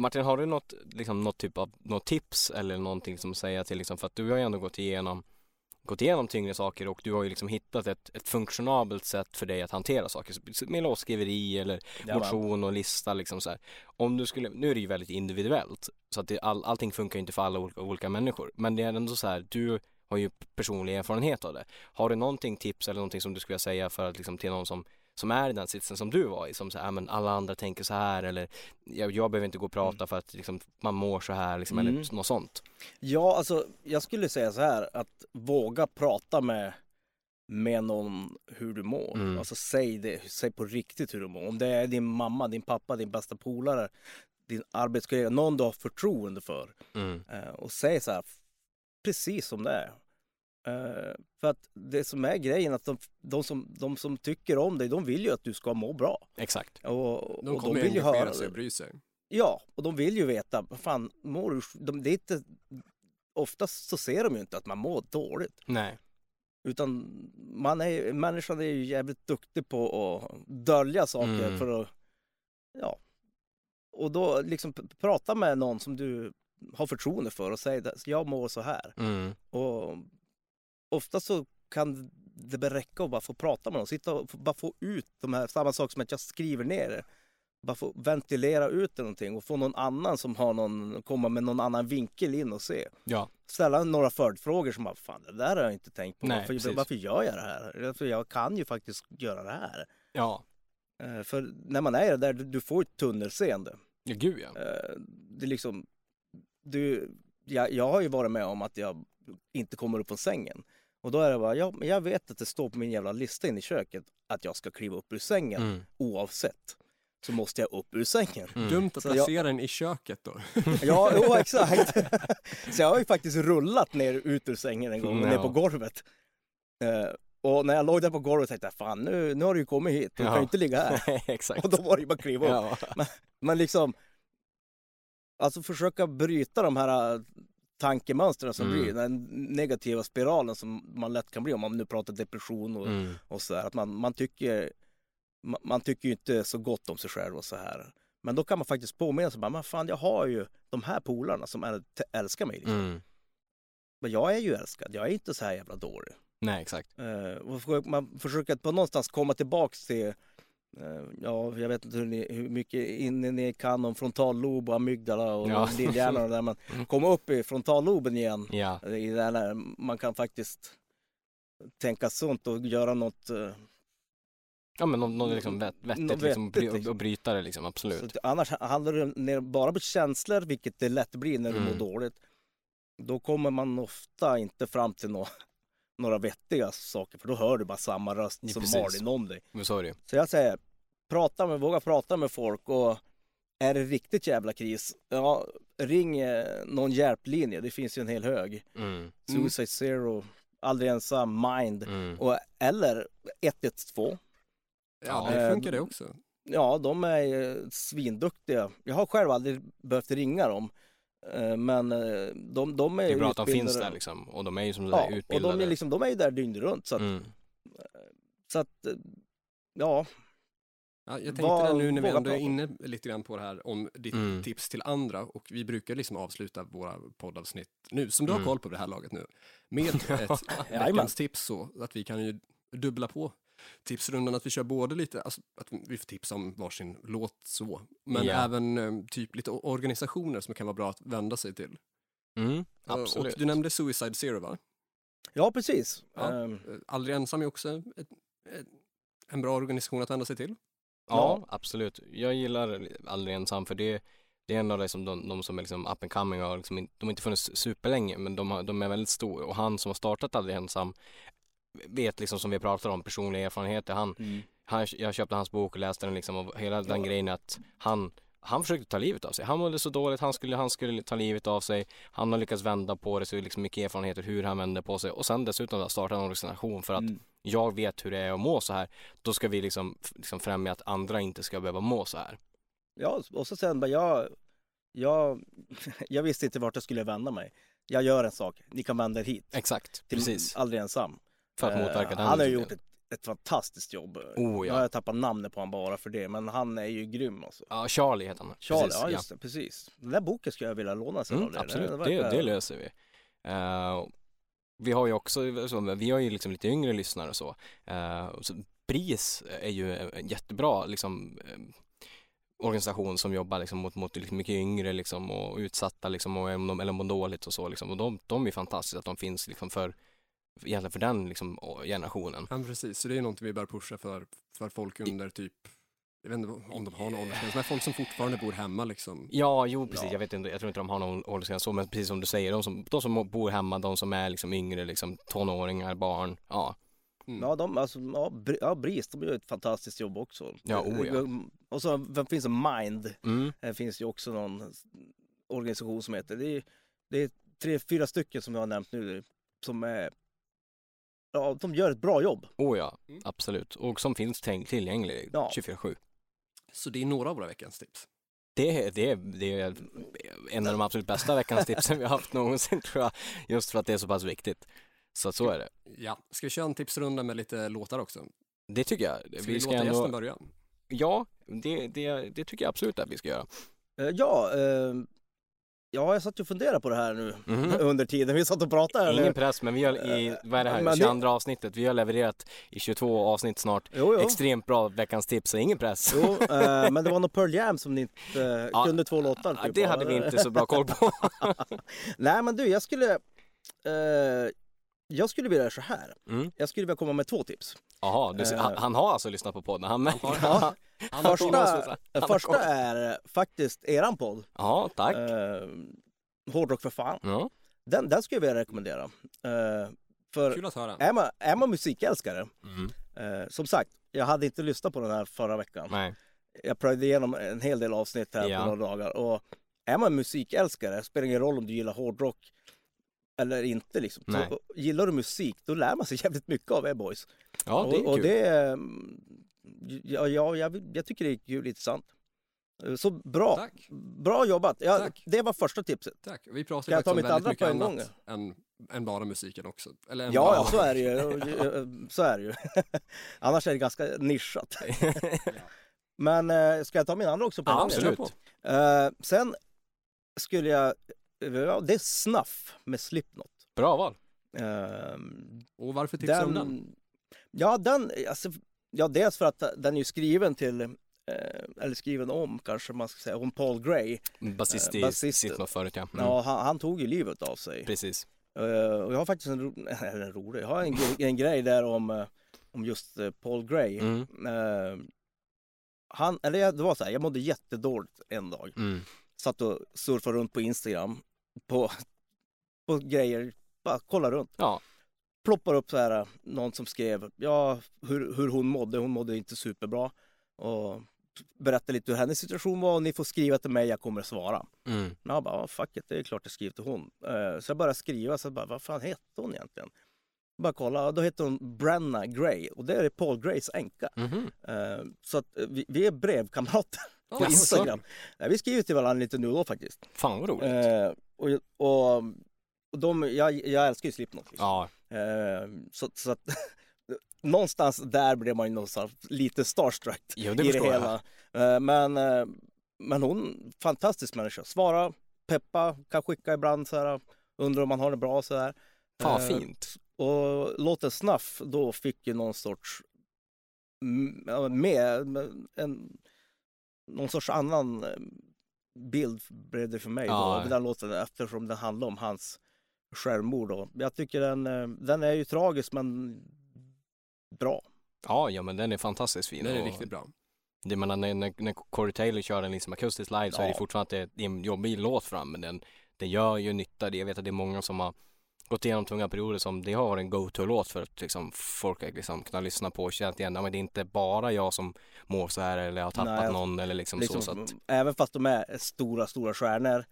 Speaker 1: Martin, har du något, liksom, något typ av något tips eller någonting som säger till, liksom, för att du har ju ändå gått igenom, gått igenom tyngre saker och du har ju liksom hittat ett, ett funktionabelt sätt för dig att hantera saker med låtskriveri eller
Speaker 3: Ja, va.
Speaker 1: motion och lista liksom så här. Om du skulle, nu är det ju väldigt individuellt så att det, all, allting funkar ju inte för alla olika, olika människor men det är ändå så här, du har ju personlig erfarenhet av det. Har du någonting tips eller någonting som du skulle vilja säga för att liksom till någon som som är i den sitsen som du var i som så här, "Ah, men alla andra tänker så här eller jag, jag behöver inte gå och prata för att liksom, man mår så här liksom,
Speaker 3: Mm.
Speaker 1: eller något sånt.
Speaker 3: Ja, alltså jag skulle säga så här att våga prata med, med någon hur du mår.
Speaker 1: Mm.
Speaker 3: Alltså säg det, säg på riktigt hur du mår. Om det är din mamma, din pappa, din bästa polare, din arbetskollega, någon du har förtroende för.
Speaker 1: Mm.
Speaker 3: Eh, och säg så här, f- precis som det är. Eh, för att det som är grejen att de, de, som, de som tycker om dig, de vill ju att du ska må bra.
Speaker 1: Exakt.
Speaker 3: Och,
Speaker 2: De
Speaker 3: och de
Speaker 2: kommer
Speaker 3: vill ju höra
Speaker 2: engagera sig och bry sig.
Speaker 3: Ja, och de vill ju veta, vad fan, mår du, de, det är inte, oftast så ser de ju inte att man mår dåligt.
Speaker 1: Nej.
Speaker 3: Utan man är, människan är ju jävligt duktig på att dölja saker
Speaker 1: Mm.
Speaker 3: för att, ja. Och då liksom p- prata med någon som du har förtroende för och säg, jag mår så här.
Speaker 1: Mm.
Speaker 3: Och ofta så kan det bara räcka att bara få prata med någon, sitta och få- bara få ut de här, samma sak som att jag skriver ner det. Bara få ventilera ut det någonting och få någon annan som har någon, komma med någon annan vinkel in och se.
Speaker 1: Ja.
Speaker 3: Ställa några följdfrågor som bara, fan det där har jag inte tänkt på,
Speaker 1: Nej,
Speaker 3: varför,
Speaker 1: precis.
Speaker 3: varför gör jag det här? För jag kan ju faktiskt göra det här.
Speaker 1: Ja.
Speaker 3: Eh, För när man är där, du- du får ett tunnelseende.
Speaker 1: Ja, gud ja.
Speaker 3: Eh, det är liksom, du, jag, jag har ju varit med om att jag inte kommer upp från sängen. Och då är det bara, ja, men jag vet att det står på min jävla lista inne i köket att jag ska kliva upp ur sängen
Speaker 1: Mm.
Speaker 3: oavsett. Så måste jag upp ur sängen.
Speaker 1: Mm.
Speaker 2: Dumt att
Speaker 3: Så jag-
Speaker 2: placera den i köket då.
Speaker 3: Ja, jo, exakt. Så jag har ju faktiskt rullat ner ut ur sängen en gång,
Speaker 1: Mm,
Speaker 3: ner
Speaker 1: ja.
Speaker 3: på golvet. Eh, och när jag låg där på golvet tänkte jag, fan nu, nu har du ju kommit hit, du kan
Speaker 1: Ja.
Speaker 3: ju inte ligga här.
Speaker 1: Exakt.
Speaker 3: Och då var det ju bara att kliva upp.
Speaker 1: Ja.
Speaker 3: Men liksom, alltså försöka bryta de här äh, tankemönstren som
Speaker 1: Mm.
Speaker 3: blir, den negativa spiralen som man lätt kan bli om man nu pratar depression och,
Speaker 1: Mm.
Speaker 3: och så här. Att man, man tycker, man, man tycker ju inte så gott om sig själv och så här. Men då kan man faktiskt påminna sig, bara, men fan jag har ju de här polarna som äl- t- älskar mig. Liksom.
Speaker 1: Mm.
Speaker 3: Men jag är ju älskad, jag är inte så här jävla dålig.
Speaker 1: Nej, exakt.
Speaker 3: Eh, och försöker- man försöker att på någonstans komma tillbaks till, eh, ja, jag vet inte hur, ni, hur mycket inne ni kan om frontallob och amygdala och
Speaker 1: Ja. Mm.
Speaker 3: lillhjärnan och det där, men komma upp i frontalloben igen.
Speaker 1: Ja.
Speaker 3: eh, I där när man kan faktiskt tänka sunt och göra något. eh,
Speaker 1: Ja men något liksom vett, vettigt
Speaker 3: Något
Speaker 1: liksom,
Speaker 3: vettigt,
Speaker 1: bry,
Speaker 3: liksom.
Speaker 1: och bryta det liksom, absolut.
Speaker 3: så att, annars handlar det ner bara på känslor, vilket det lätt blir när du
Speaker 1: Mm.
Speaker 3: mår dåligt. Då kommer man ofta inte fram till nå- några vettiga saker, för då hör du bara samma röst
Speaker 1: Ja,
Speaker 3: som
Speaker 1: precis.
Speaker 3: Martin om dig.
Speaker 1: Men så är det ju.
Speaker 3: Så jag säger, prata med, våga prata med folk och är det riktigt jävla kris, ja, ring eh, någon hjälplinje, det finns ju en hel hög.
Speaker 1: Mm.
Speaker 2: Mm.
Speaker 3: Suicide Zero, Aldrig Ensam, Mind
Speaker 1: Mm.
Speaker 3: och, eller 112.
Speaker 2: Ja,
Speaker 3: Ja. Ehm,
Speaker 2: det funkar det också.
Speaker 3: Ja, de är ju svinduktiga. Jag har själv aldrig behövt ringa dem, eh, men eh, de, de är
Speaker 1: Det är bra att de
Speaker 3: utbildade.
Speaker 1: finns där liksom och de är ju som
Speaker 3: Ja,
Speaker 1: sagt
Speaker 3: och
Speaker 1: utbildade.
Speaker 3: de är, liksom, de är ju där dygnet runt. Så att,
Speaker 1: mm.
Speaker 3: så att eh, ja,
Speaker 2: Ja, jag tänkte
Speaker 3: Vad-
Speaker 2: det nu när vi
Speaker 3: våga
Speaker 2: ändå är
Speaker 3: prata.
Speaker 2: inne lite grann på det här om ditt
Speaker 1: Mm.
Speaker 2: tips till andra och vi brukar liksom avsluta våra poddavsnitt nu, som du har
Speaker 1: Mm.
Speaker 2: koll på det här laget nu, med ett
Speaker 3: Jajamän.
Speaker 2: veckans tips så att vi kan ju dubbla på tipsrundan, att vi kör både lite, alltså, att vi får tips om varsin låt så, men
Speaker 1: Ja.
Speaker 2: även eh, typ lite o- organisationer som kan vara bra att vända sig till.
Speaker 1: Mm.
Speaker 2: Eh,
Speaker 1: Absolut.
Speaker 2: Och du nämnde Suicide Zero va?
Speaker 3: ja precis.
Speaker 2: Ja.
Speaker 3: Ehm,
Speaker 2: Eh, Aldrig ensam är också ett, ett, en bra organisation att vända sig till.
Speaker 1: Ja, absolut. Jag gillar Aldrig ensam för det, det är en av liksom de, de som är liksom up and coming och har liksom, in- de har inte funnits superlänge men de, har, de är väldigt stora och han som har startat Aldrig ensam vet liksom som vi pratar om personliga erfarenheter. Han,
Speaker 3: mm.
Speaker 1: han, jag köpte hans bok och läste den liksom och hela den
Speaker 3: Ja.
Speaker 1: grejen att han han försökte ta livet av sig. Han mådde så dåligt, han skulle, han skulle ta livet av sig. Han har lyckats vända på det, så det är liksom mycket erfarenheter hur han vänder på sig. Och sen dessutom då starta en organisation för att
Speaker 3: Mm.
Speaker 1: jag vet hur det är att må så här, då ska vi liksom, f- liksom främja att andra inte ska behöva må så här.
Speaker 3: Ja, och så sen bara jag, jag, jag visste inte vart jag skulle vända mig. Jag gör en sak, ni kan vända er hit.
Speaker 1: Exakt,
Speaker 3: Till
Speaker 1: precis.
Speaker 3: Aldrig ensam.
Speaker 1: För att
Speaker 3: Eh,
Speaker 1: motverka den.
Speaker 3: Han har ju
Speaker 1: utvecklingen.
Speaker 3: gjort ett, ett fantastiskt jobb.
Speaker 1: Oh
Speaker 3: Nu har
Speaker 1: ja.
Speaker 3: jag tappat namnet på honom bara för det, men han är ju grym alltså.
Speaker 1: Ja, Charlie heter han.
Speaker 3: Charlie,
Speaker 1: Precis,
Speaker 3: ja just det, precis. Den där boken skulle jag vilja låna sen av
Speaker 1: Mm,
Speaker 3: dig. Den
Speaker 1: absolut, det,
Speaker 3: verkar-
Speaker 1: det löser vi. Eh, vi har ju också, så, vi har ju liksom lite yngre lyssnare och så. Eh, så BRIS är ju en jättebra liksom, eh, organisation som jobbar liksom, mot, mot liksom, mycket yngre liksom, och utsatta liksom, och, om de- eller mår dåligt och så. Liksom. Och de, de är fantastiska att de finns liksom, för, egentligen för den liksom, generationen.
Speaker 2: Ja, men precis. Så det är någonting vi bör pusha för, för folk under typ, jag vet inte om de har någon åldersgräns, men folk som fortfarande bor hemma liksom.
Speaker 1: Ja, jo precis.
Speaker 3: Ja.
Speaker 1: Jag vet inte, jag tror inte de har någon åldersgräns så, men precis som du säger, de som, de som bor hemma, de som är liksom yngre, liksom tonåringar, barn, ja.
Speaker 2: Mm.
Speaker 3: Ja, de, alltså, ja, Br- ja, BRIS, de gör ett fantastiskt jobb också.
Speaker 1: Ja, oh, ja.
Speaker 3: Och så vem finns det, Mind,
Speaker 1: Mm.
Speaker 3: det finns ju också någon organisation som heter, det är, det är tre, fyra stycken som jag har nämnt nu som är, ja, de gör ett bra jobb.
Speaker 1: Oh ja,
Speaker 2: Mm.
Speaker 1: absolut. Och som finns tänk- tillgänglig
Speaker 3: Ja.
Speaker 1: 24-7.
Speaker 2: Så det är några av våra veckans tips.
Speaker 1: Det, är- det, är- det är en av de absolut bästa veckans tipsen vi har haft någonsin tror jag. Just för att det är så pass viktigt. Så att så är det.
Speaker 2: Ja, ska vi köra en tipsrunda med lite låtar också?
Speaker 1: Det tycker jag.
Speaker 2: Ska vi, låta gästen börja?
Speaker 1: Ja, det, det, det tycker jag absolut att vi ska göra.
Speaker 3: Eh, Ja, eh, ja, jag satt ju och funderade på det här nu
Speaker 1: Mhm.
Speaker 3: under tiden vi satt och pratade. eller?
Speaker 1: Ingen press, men vi har i, vad är det
Speaker 3: Men
Speaker 1: här,
Speaker 3: det-
Speaker 1: 22 avsnittet, vi har levererat i 22 avsnitt snart.
Speaker 3: Jo, jo.
Speaker 1: Extremt bra veckans tips, så ingen press.
Speaker 3: jo eh, men det var nog Pearl Jam som ni inte eh,
Speaker 1: Ja,
Speaker 3: kunde två låtar.
Speaker 1: Ja,
Speaker 3: typ,
Speaker 1: det
Speaker 3: va?
Speaker 1: hade vi inte så bra koll på.
Speaker 3: Nej, men du, jag skulle, eh, jag skulle vilja göra så här.
Speaker 1: Mm.
Speaker 3: Jag skulle vilja komma med två tips.
Speaker 1: Jaha, du ser- han, han har alltså lyssnat på podden. Han,
Speaker 2: Ja. Anna Karlsson.
Speaker 3: Första,
Speaker 1: har alltså- koll.
Speaker 3: första är eh, faktiskt eran podd.
Speaker 1: Ja, tack.
Speaker 3: Eh, Hårdrock för fan.
Speaker 1: Ja.
Speaker 3: Den, den skulle jag vilja rekommendera. Eh, för
Speaker 2: Kul att höra.
Speaker 3: är man, är man musikälskare,
Speaker 1: Mm.
Speaker 3: eh, som sagt, jag hade inte lyssnat på den här förra veckan.
Speaker 1: Nej.
Speaker 3: Jag prövade igenom en hel del avsnitt här
Speaker 1: Ja.
Speaker 3: på några dagar. Och är man musikälskare, spelar ingen roll om du gillar hårdrock eller inte. Liksom.
Speaker 1: Nej.
Speaker 3: Så, gillar du musik, då lär man sig jävligt mycket av Airboys.
Speaker 1: Ja, det är
Speaker 3: och, och
Speaker 1: kul.
Speaker 3: det är, mm, ja, ja, jag, vill- jag tycker det är kul, intressant. Eh, Så bra,
Speaker 2: Tack,
Speaker 3: bra jobbat. Ja,
Speaker 2: Tack.
Speaker 3: det var första tipset.
Speaker 2: tack. Vi pratar
Speaker 3: Kan jag
Speaker 2: ju
Speaker 3: ta
Speaker 2: faktiskt om
Speaker 3: mitt
Speaker 2: väldigt
Speaker 3: andra
Speaker 2: mycket
Speaker 3: på en
Speaker 2: annat än, än bara musiken också. Eller än
Speaker 3: Ja,
Speaker 2: bara-
Speaker 3: ja, så är det ju. Så är det ju. Annars är det ganska nischat. Men eh, ska jag ta min andra också? På en
Speaker 1: Ja,
Speaker 3: gång?
Speaker 1: absolut.
Speaker 3: Eh, sen skulle jag, ja, det är Snuff med Slipknot.
Speaker 1: Bra val.
Speaker 3: Eh,
Speaker 2: Och varför tipsar du om den?
Speaker 3: Ja, den, alltså, ja, dels för att den är ju skriven till, eh, eller skriven om kanske man ska säga, om Paul Gray.
Speaker 2: Mm.
Speaker 1: Basist
Speaker 3: Eh,
Speaker 1: i
Speaker 3: basist.
Speaker 1: Slipknot förut ja. Mm.
Speaker 3: Ja, han, han tog ju livet av sig.
Speaker 1: Precis.
Speaker 3: Eh, och jag har faktiskt en, ro, eller en rolig, jag har en, gre- en grej där om, eh, om just eh, Paul Gray.
Speaker 1: Mm.
Speaker 3: Eh, han, eller jag- det var så här, jag mådde jättedåligt en dag.
Speaker 1: Mm.
Speaker 3: Satt och surfade runt på Instagram på, på grejer, bara kolla runt.
Speaker 1: Ja.
Speaker 3: Ploppar upp så eh, här, någon som skrev ja, hur, hur hon mådde, hon mådde inte superbra. Och berätta lite hur hennes situation var och ni får skriva till mig, jag kommer att svara.
Speaker 1: Mm.
Speaker 3: Men jag bara, ah, fuck it, det är klart jag skriver till hon. Eh, Så jag började skriva, så jag bara, vad fan hette hon egentligen? Bara kolla, då heter hon Brenna Gray och det är Paul Grays änka.
Speaker 1: Mhm.
Speaker 3: Eh, Så att eh, vi, vi är brevkamrater på
Speaker 1: Jaså?
Speaker 3: Instagram. Eh, Vi skriver till varandra lite nu och då faktiskt.
Speaker 1: Fan vad roligt.
Speaker 3: Eh, och och, och de, jag, jag älskar ju Slipknot. Liksom.
Speaker 1: Ja,
Speaker 3: Eh, så, så att någonstans där blev man ju någonstans lite starstruck
Speaker 1: jo, det
Speaker 3: i det
Speaker 1: förstår jag.
Speaker 3: hela. Eh, men, eh, men hon, fantastisk människa. Svara, peppa, kan skicka ibland så här, undrar om man har det bra så här.
Speaker 1: Fan
Speaker 3: Eh,
Speaker 1: vad fint.
Speaker 3: och låten Snuff då fick ju någon sorts mm, ja, med, med en, någon sorts annan eh, bild blev det för mig
Speaker 1: Ja.
Speaker 3: då, av den låten eftersom den handlar om hans självmord då. Jag tycker den, eh, den är ju tragisk men bra.
Speaker 1: Ja, ja men den är fantastiskt fin.
Speaker 2: Det är
Speaker 1: och
Speaker 2: riktigt bra.
Speaker 1: Det menar när, när, när Corey Taylor kör den liksom akustiskt live så är det
Speaker 3: Ja.
Speaker 1: fortfarande att det är- det är en jobbig låt fram men den, den gör ju nytta. Det- Jag vet att det är många som har gått igenom tunga perioder som det har varit en go-to-låt för att liksom folk har liksom kunna lyssna på och känna att igen, "Ja, men det är inte bara jag som mår så här eller jag har tappat
Speaker 3: Nej,
Speaker 1: någon eller liksom,
Speaker 3: Liksom,
Speaker 1: så. så att,
Speaker 3: Även fast de är stora, stora stjärnor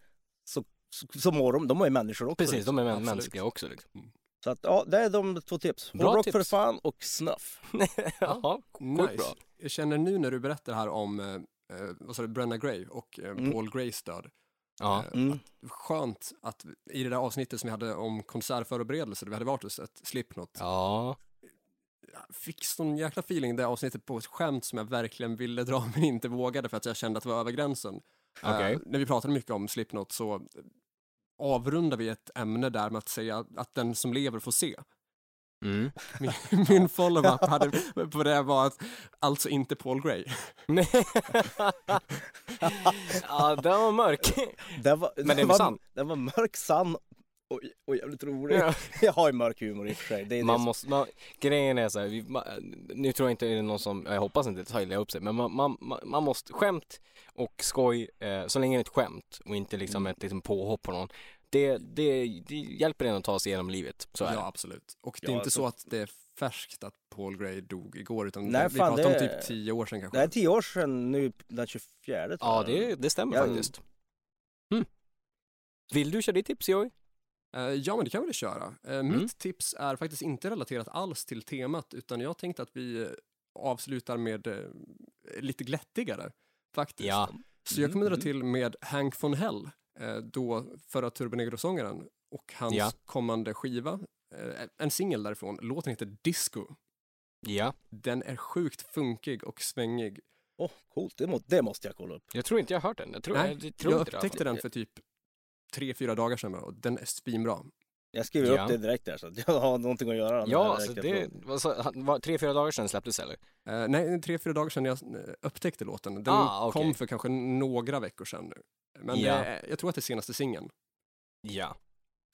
Speaker 3: så, så, så mår de, de är ju människor också.
Speaker 1: precis,
Speaker 3: liksom.
Speaker 1: de är män-
Speaker 2: absolut.
Speaker 1: mänskliga också. Liksom.
Speaker 3: Så att, ja, det är de två tips.
Speaker 1: Bra
Speaker 3: Hårdrock för
Speaker 1: tips.
Speaker 3: fan och Snuff.
Speaker 1: ja, sjukt
Speaker 2: Nice.
Speaker 1: bra.
Speaker 2: Jag känner nu när du berättar här om eh, eh, vad sa du, Brenna Gray och eh,
Speaker 3: Mm.
Speaker 2: Paul Grays död.
Speaker 1: Ja.
Speaker 2: Eh,
Speaker 3: Mm.
Speaker 2: Skönt att i det där avsnittet som vi hade om konsertförberedelser, där vi hade varit hos ett Slipknot,
Speaker 1: Ja,
Speaker 2: jag fick sån jäkla feeling det avsnittet på ett skämt som jag verkligen ville dra men inte vågade för att jag kände att det var över gränsen.
Speaker 1: Okej.
Speaker 2: Eh, när vi pratade mycket om Slipknot så avrundar vi ett ämne där med att säga att den som lever får se.
Speaker 1: mm.
Speaker 2: Min, min follow-up hade, på det var att, alltså inte Paul Gray.
Speaker 1: ja, den var mörk.
Speaker 3: Den var,
Speaker 1: den
Speaker 3: men
Speaker 1: är
Speaker 3: var,
Speaker 1: sann.
Speaker 3: Den var mörk, sann och, och jävligt rolig.
Speaker 1: Ja.
Speaker 3: Jag har ju mörk humor i och för sig. Det är
Speaker 1: Man
Speaker 3: det. som-
Speaker 1: måste, man, grejen är så här, vi, ma- nu tror jag inte det är någon som, jag hoppas inte tar upp sig, men man, man, man- man måste, skämt och skoj, eh, så länge det är ett skämt och inte liksom ett liksom påhopp på någon, det, det, det hjälper en att ta sig igenom livet, så är
Speaker 2: ja,
Speaker 1: det.
Speaker 2: absolut. Och det är
Speaker 3: Ja,
Speaker 2: inte
Speaker 3: alltså-
Speaker 2: så att det är färskt att Paul Gray dog igår, utan
Speaker 3: Nej,
Speaker 2: vi
Speaker 3: fan,
Speaker 2: pratar om
Speaker 3: det-
Speaker 2: typ tio år sedan kanske.
Speaker 3: Det är tio år sedan nu, den 24 tror
Speaker 1: Ja,
Speaker 3: jag.
Speaker 1: det, det stämmer
Speaker 3: Ja.
Speaker 1: faktiskt. Mm. Vill du köra ditt tips Joey?
Speaker 2: Eh, ja, men det kan vi väl köra. Eh,
Speaker 1: Mm.
Speaker 2: Mitt tips är faktiskt inte relaterat alls till temat, utan jag tänkte att vi eh, avslutar med eh, lite glättigare, faktiskt.
Speaker 1: Ja.
Speaker 2: Så jag kommer dra
Speaker 3: Mm.
Speaker 2: till med Hank von Hell, eh, då förra Turbonegro-sångaren, och hans
Speaker 1: Ja.
Speaker 2: kommande skiva, eh, en singel därifrån, låten heter Disco.
Speaker 1: Ja,
Speaker 2: Den är sjukt funkig och svängig.
Speaker 3: Åh, coolt. Det, må, det måste jag kolla upp.
Speaker 1: jag tror inte jag har hört den. Jag tror,
Speaker 2: Nej,
Speaker 1: jag, jag tror
Speaker 2: Jag
Speaker 1: inte det i alla fall.
Speaker 2: upptäckte den för typ tre, fyra dagar sedan bara, och den är svinbra.
Speaker 3: Jag skriver
Speaker 1: Ja.
Speaker 3: upp det direkt där så att jag har någonting att göra.
Speaker 1: Ja,
Speaker 3: här
Speaker 1: alltså
Speaker 3: direkt
Speaker 1: det,
Speaker 3: efteråt.
Speaker 1: vad sa- han- var, tre, fyra dagar sedan släpptes eller?
Speaker 2: Eh, nej, tre, fyra dagar sedan jag eh, upptäckte låten. Den
Speaker 1: Ah, okej.
Speaker 2: kom för kanske några veckor sedan nu. Men
Speaker 1: Ja.
Speaker 2: det är, jag tror att det är senaste singeln
Speaker 1: Ja.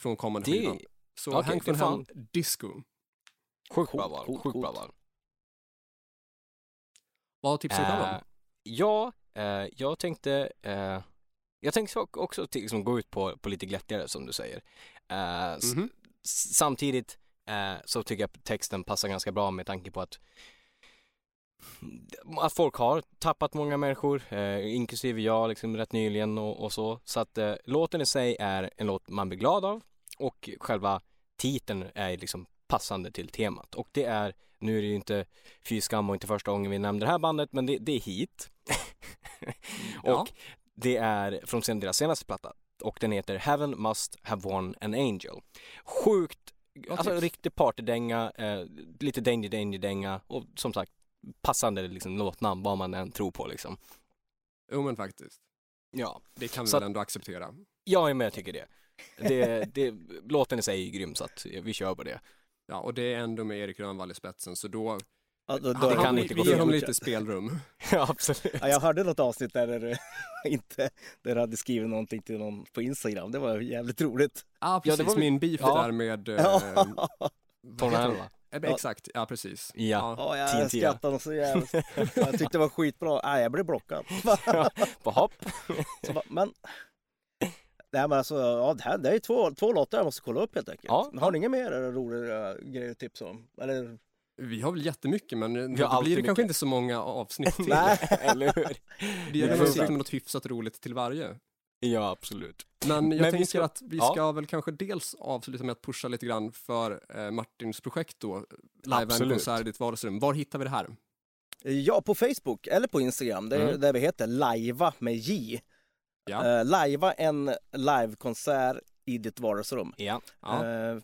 Speaker 2: från kommande
Speaker 1: Det,
Speaker 2: skivan. Så
Speaker 1: okej,
Speaker 2: Hank
Speaker 1: det
Speaker 2: von
Speaker 1: är
Speaker 2: Hell, Disco.
Speaker 1: sjukt bra
Speaker 3: Coolt,
Speaker 1: val,
Speaker 3: coolt,
Speaker 1: sjukt bra
Speaker 3: coolt.
Speaker 1: val.
Speaker 2: Vad har tipsen
Speaker 1: Eh,
Speaker 2: uh,
Speaker 1: Ja, eh, jag tänkte, eh, jag tänkte sak- också till, liksom, gå ut på, på lite glättigare som du säger. Eh, s-
Speaker 2: Mhm.
Speaker 1: s- Samtidigt eh, så tycker jag att texten passar ganska bra med tanke på att att folk har tappat många människor, eh, inklusive jag liksom rätt nyligen och, och så. Så att eh, låten i sig är en låt man blir glad av och själva titeln är liksom passande till temat. Och det är, nu är det ju inte fy skam och inte första gången vi nämner det här bandet, men det, det är Heat. och
Speaker 2: Ja.
Speaker 1: det är från sen- deras senaste platta och den heter Heaven Must Have Won An Angel. Sjukt,
Speaker 2: Bra
Speaker 1: alltså
Speaker 2: tips.
Speaker 1: riktig partydänga, eh, lite danger danger dänga och som sagt passande liksom låtnamn vad man än tror på liksom.
Speaker 2: Jo men faktiskt,
Speaker 1: Ja,
Speaker 2: det kan vi
Speaker 1: Så
Speaker 2: väl ändå acceptera.
Speaker 1: jag är med jag tycker det. det, det låten i sig är ju grym så att vi kör på det.
Speaker 2: Ja, och det är ändå med Erik Grönvall i spetsen, så då...
Speaker 3: Ja, då, då,
Speaker 1: det kan
Speaker 2: vi,
Speaker 1: inte gå
Speaker 2: vi ger
Speaker 1: fel.
Speaker 2: honom lite spelrum.
Speaker 1: ja, absolut.
Speaker 3: Ja, jag hörde något avsnitt där, där, du inte, där du hade skrivit någonting till någon på Instagram. Det var jävligt roligt.
Speaker 2: Ah,
Speaker 1: Ja,
Speaker 2: precis,
Speaker 1: det var väl-
Speaker 2: min beef
Speaker 1: Ja.
Speaker 2: där med... eh, vad
Speaker 1: Tony
Speaker 2: heter
Speaker 1: Alva.
Speaker 2: det? Eh,
Speaker 3: Ja.
Speaker 2: Exakt, ja precis.
Speaker 1: Ja.
Speaker 3: Ja, jag
Speaker 1: TNT, ja.
Speaker 3: skrattade så jävligt. Jag tyckte det var skitbra. Nej, jag blev blockad.
Speaker 1: På hopp.
Speaker 3: Så bara, men... Nej men alltså, ja, det, här, det är ju två, två låtar jag måste kolla upp helt enkelt.
Speaker 1: Ja.
Speaker 3: eh, Har ni inga mer roligare grejer att tipsa om? Eller
Speaker 2: Vi har väl jättemycket, men det
Speaker 1: har
Speaker 2: blir det
Speaker 1: alltid mycket.
Speaker 2: kanske inte så många avsnitt till.
Speaker 3: Nej.
Speaker 4: eller hur?
Speaker 2: Det gäller
Speaker 3: Nej,
Speaker 2: väl att
Speaker 3: exakt.
Speaker 2: sitta med något hyfsat roligt till varje.
Speaker 4: Ja, absolut.
Speaker 2: Men jag
Speaker 4: Men vi
Speaker 2: tänker
Speaker 4: ska-
Speaker 2: att vi
Speaker 4: ja.
Speaker 2: ska väl kanske dels avsluta med att pusha lite grann för eh, Martins projekt då,
Speaker 4: Absolut.
Speaker 2: live-konsert i ditt vardagsrum. Var hittar vi det här?
Speaker 3: Ja, på Facebook eller på Instagram, det är
Speaker 2: Mm.
Speaker 3: där vi heter Lajva med J.
Speaker 2: Ja.
Speaker 3: Eh, Lajva en livekonsert i ditt vardagsrum.
Speaker 1: Ja,
Speaker 2: Ja.
Speaker 3: Eh,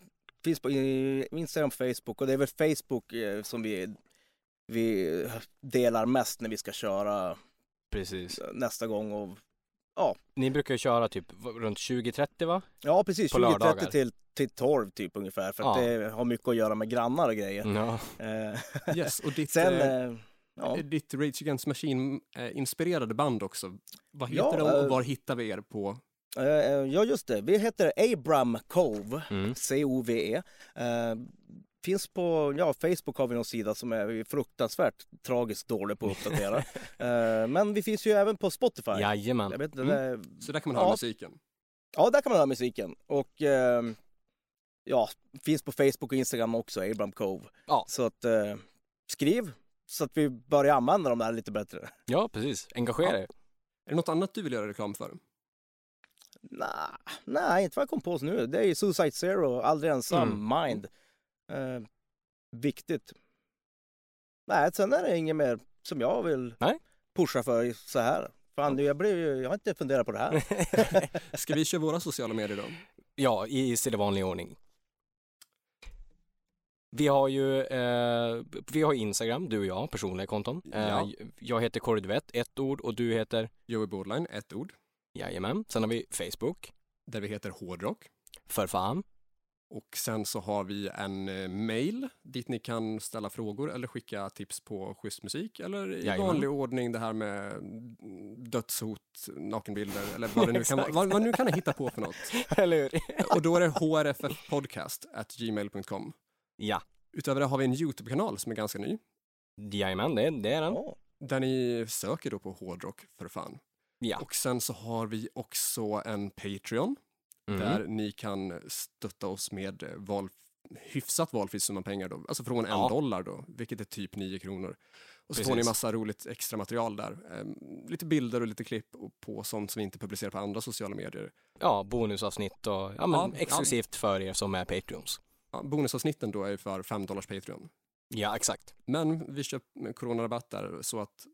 Speaker 3: finns på i- Instagram, Facebook och det är väl Facebook eh, som vi, vi delar mest när vi ska köra eh,
Speaker 1: precis.
Speaker 3: nästa gång. Och,
Speaker 1: Ni brukar ju köra typ v- runt 20-30 va?
Speaker 3: ja, precis.
Speaker 1: På
Speaker 3: 20.30
Speaker 1: lördagar.
Speaker 3: till, till 12 typ ungefär för
Speaker 1: Ja.
Speaker 3: att
Speaker 1: Mm.
Speaker 3: det har mycket att göra med grannar och grejer.
Speaker 1: Ja.
Speaker 3: Eh,
Speaker 2: Yes, och ditt,
Speaker 3: sen,
Speaker 2: eh,
Speaker 3: eh, ja.
Speaker 2: ditt Rage Against Machine-inspirerade band också. Vad heter
Speaker 3: Ja,
Speaker 2: de och
Speaker 3: eh,
Speaker 2: var hittar vi er på?
Speaker 3: Eh, ja, just det. Vi heter Abram Cove.
Speaker 1: Mm.
Speaker 3: C-O-V-E. Eh, finns på, ja, Facebook har vi någon sida som är fruktansvärt tragiskt dålig på att uppdatera. eh, men vi finns ju även på Spotify.
Speaker 1: Jajamän.
Speaker 3: Jag vet inte,
Speaker 2: Mm.
Speaker 3: det-
Speaker 2: Så där kan man höra
Speaker 3: ja.
Speaker 2: musiken.
Speaker 3: ja, där kan man höra musiken. Och eh, ja, finns på Facebook och Instagram också, Abram Cove.
Speaker 1: Ja.
Speaker 3: Så att eh, skriv så att vi börjar använda dem där lite bättre.
Speaker 1: Ja, precis. Engagera er.
Speaker 2: Är det något annat du vill göra reklam för?
Speaker 3: Nej, nej, inte vad jag kom på nu. Det är ju Suicide Zero, Aldrig Ensam,
Speaker 1: Mm.
Speaker 3: Mind. Eh, viktigt. Nej, sen är det inget mer som jag vill
Speaker 1: Nej.
Speaker 3: pusha för så här. Fan, jag, blev, ju- jag har inte funderat på det här.
Speaker 2: Ska vi köra våra sociala medier då?
Speaker 1: Ja, i sedvanlig ordning. Vi har ju eh, vi har Instagram, du och jag, personliga konton. Eh,
Speaker 2: Ja.
Speaker 1: Jag heter Kåre Duvett, ett ord, och du heter?
Speaker 2: Joey Bordline, ett ord,
Speaker 1: Jajamän. Sen har vi Facebook,
Speaker 2: där vi heter Hårdrock.
Speaker 1: för fan.
Speaker 2: Och sen så har vi en eh, mail dit ni kan ställa frågor eller skicka tips på schysst musik eller i
Speaker 1: Jajamän.
Speaker 2: vanlig ordning det här med mm, dödshot, nakenbilder eller vad det nu kan vara. Vad, vad nu kan ni hitta på för något.
Speaker 1: Eller hur?
Speaker 2: Och då är det hrffpodcast.gmail.com.
Speaker 1: Ja,
Speaker 2: Utöver det har vi en YouTube-kanal som är ganska ny
Speaker 1: jajamän, det, det är den.
Speaker 3: Ja.
Speaker 2: där ni söker då på hårdrock för fan.
Speaker 1: Ja.
Speaker 2: Och sen så har vi också en Patreon
Speaker 1: Mm.
Speaker 2: där ni kan stötta oss med eh, val, hyfsat valfri summa pengar då, alltså från en
Speaker 1: Ja.
Speaker 2: dollar då, vilket är typ 9 kronor. Och så får ni
Speaker 1: Precis.
Speaker 2: massa roligt extra material där, Ehm, lite bilder och lite klipp och på sånt som vi inte publicerar på andra sociala medier.
Speaker 1: Ja, bonusavsnitt och ja, men,
Speaker 2: Ja,
Speaker 1: exklusivt för er som är Patreons.
Speaker 2: Ja, bonusavsnitten då är ju för 5 dollars Patreon.
Speaker 1: Ja, exakt.
Speaker 2: Men vi kör coronarabatt där så att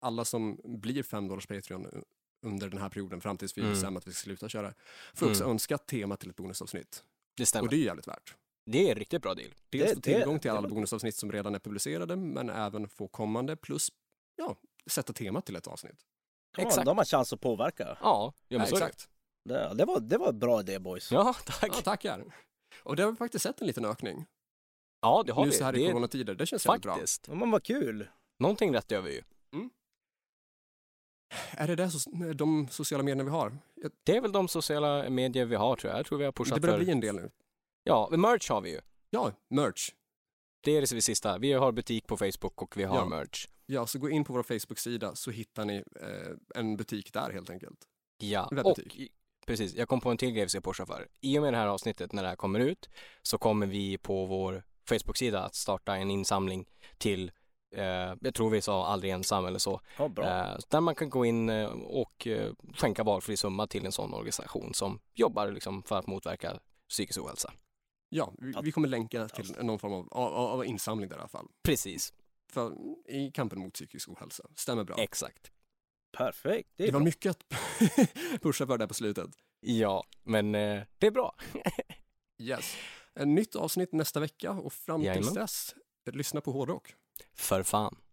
Speaker 2: alla som blir 5 dollars Patreon u- under den här perioden fram tills vi
Speaker 1: Mm.
Speaker 2: bestämmer att vi ska sluta köra får också
Speaker 1: Mm.
Speaker 2: önska tema till ett bonusavsnitt.
Speaker 1: Det stämmer.
Speaker 2: Och det är ju jävligt värt.
Speaker 1: Det är en riktigt bra deal.
Speaker 2: dels
Speaker 3: Det-
Speaker 2: få
Speaker 3: det-
Speaker 2: tillgång till
Speaker 3: det
Speaker 2: alla
Speaker 3: låter-
Speaker 2: bonusavsnitt som redan är publicerade, men även få kommande plus ja, sätta temat till ett avsnitt.
Speaker 3: Ja,
Speaker 1: Exakt.
Speaker 3: då har man chans att påverka.
Speaker 1: Ja, ja men
Speaker 2: Ja,
Speaker 1: så är det.
Speaker 2: exakt.
Speaker 3: Det, det, var, det var en bra idé boys.
Speaker 1: Ja, tack.
Speaker 2: Ja, tackar. Och där har vi faktiskt sett en liten ökning
Speaker 1: Ja, det har
Speaker 2: nu
Speaker 1: vi.
Speaker 2: så här
Speaker 1: det
Speaker 2: i
Speaker 1: är
Speaker 2: coronatider. Det känns jävligt bra.
Speaker 1: faktiskt.
Speaker 3: Men vad kul!
Speaker 1: Någonting rätt gör vi ju.
Speaker 2: Är det där so- de sociala medierna vi har? Jag,
Speaker 1: Det är väl de sociala medier vi har tror jag. Jag tror vi har
Speaker 2: det
Speaker 1: pushat
Speaker 2: börjar
Speaker 1: för...
Speaker 2: bli en del nu.
Speaker 1: Ja, men merch har vi ju.
Speaker 2: Ja, merch.
Speaker 1: Det är det sista. Vi har butik på Facebook och vi har
Speaker 2: Ja.
Speaker 1: merch.
Speaker 2: Ja, så gå in på vår Facebook-sida så hittar ni eh, en butik där helt enkelt.
Speaker 1: Ja,
Speaker 2: Webbutik.
Speaker 1: och precis. Jag kom på en till grej vi ska pusha för. I och med det här avsnittet när det här kommer ut så kommer vi på vår Facebook-sida att starta en insamling till eh, jag tror vi sa aldrig ensam eller så.
Speaker 3: Ja, bra.
Speaker 1: Eh, där man kan gå in eh, och eh, skänka valfri summa till en sån organisation som jobbar liksom, för att motverka psykisk ohälsa.
Speaker 2: Ja, vi, vi kommer länka till någon form av, av, av insamling där i alla fall.
Speaker 1: Precis,
Speaker 2: För, I kampen mot psykisk ohälsa. Stämmer bra.
Speaker 1: exakt.
Speaker 3: Perfekt. Det är
Speaker 2: Det var
Speaker 3: bra.
Speaker 2: mycket att pusha för där på slutet.
Speaker 1: Ja, men eh, det är bra.
Speaker 2: Yes. Ett nytt avsnitt nästa vecka och fram tills
Speaker 1: Jajamän.
Speaker 2: dess, lyssna på hårdrock.
Speaker 1: För fan.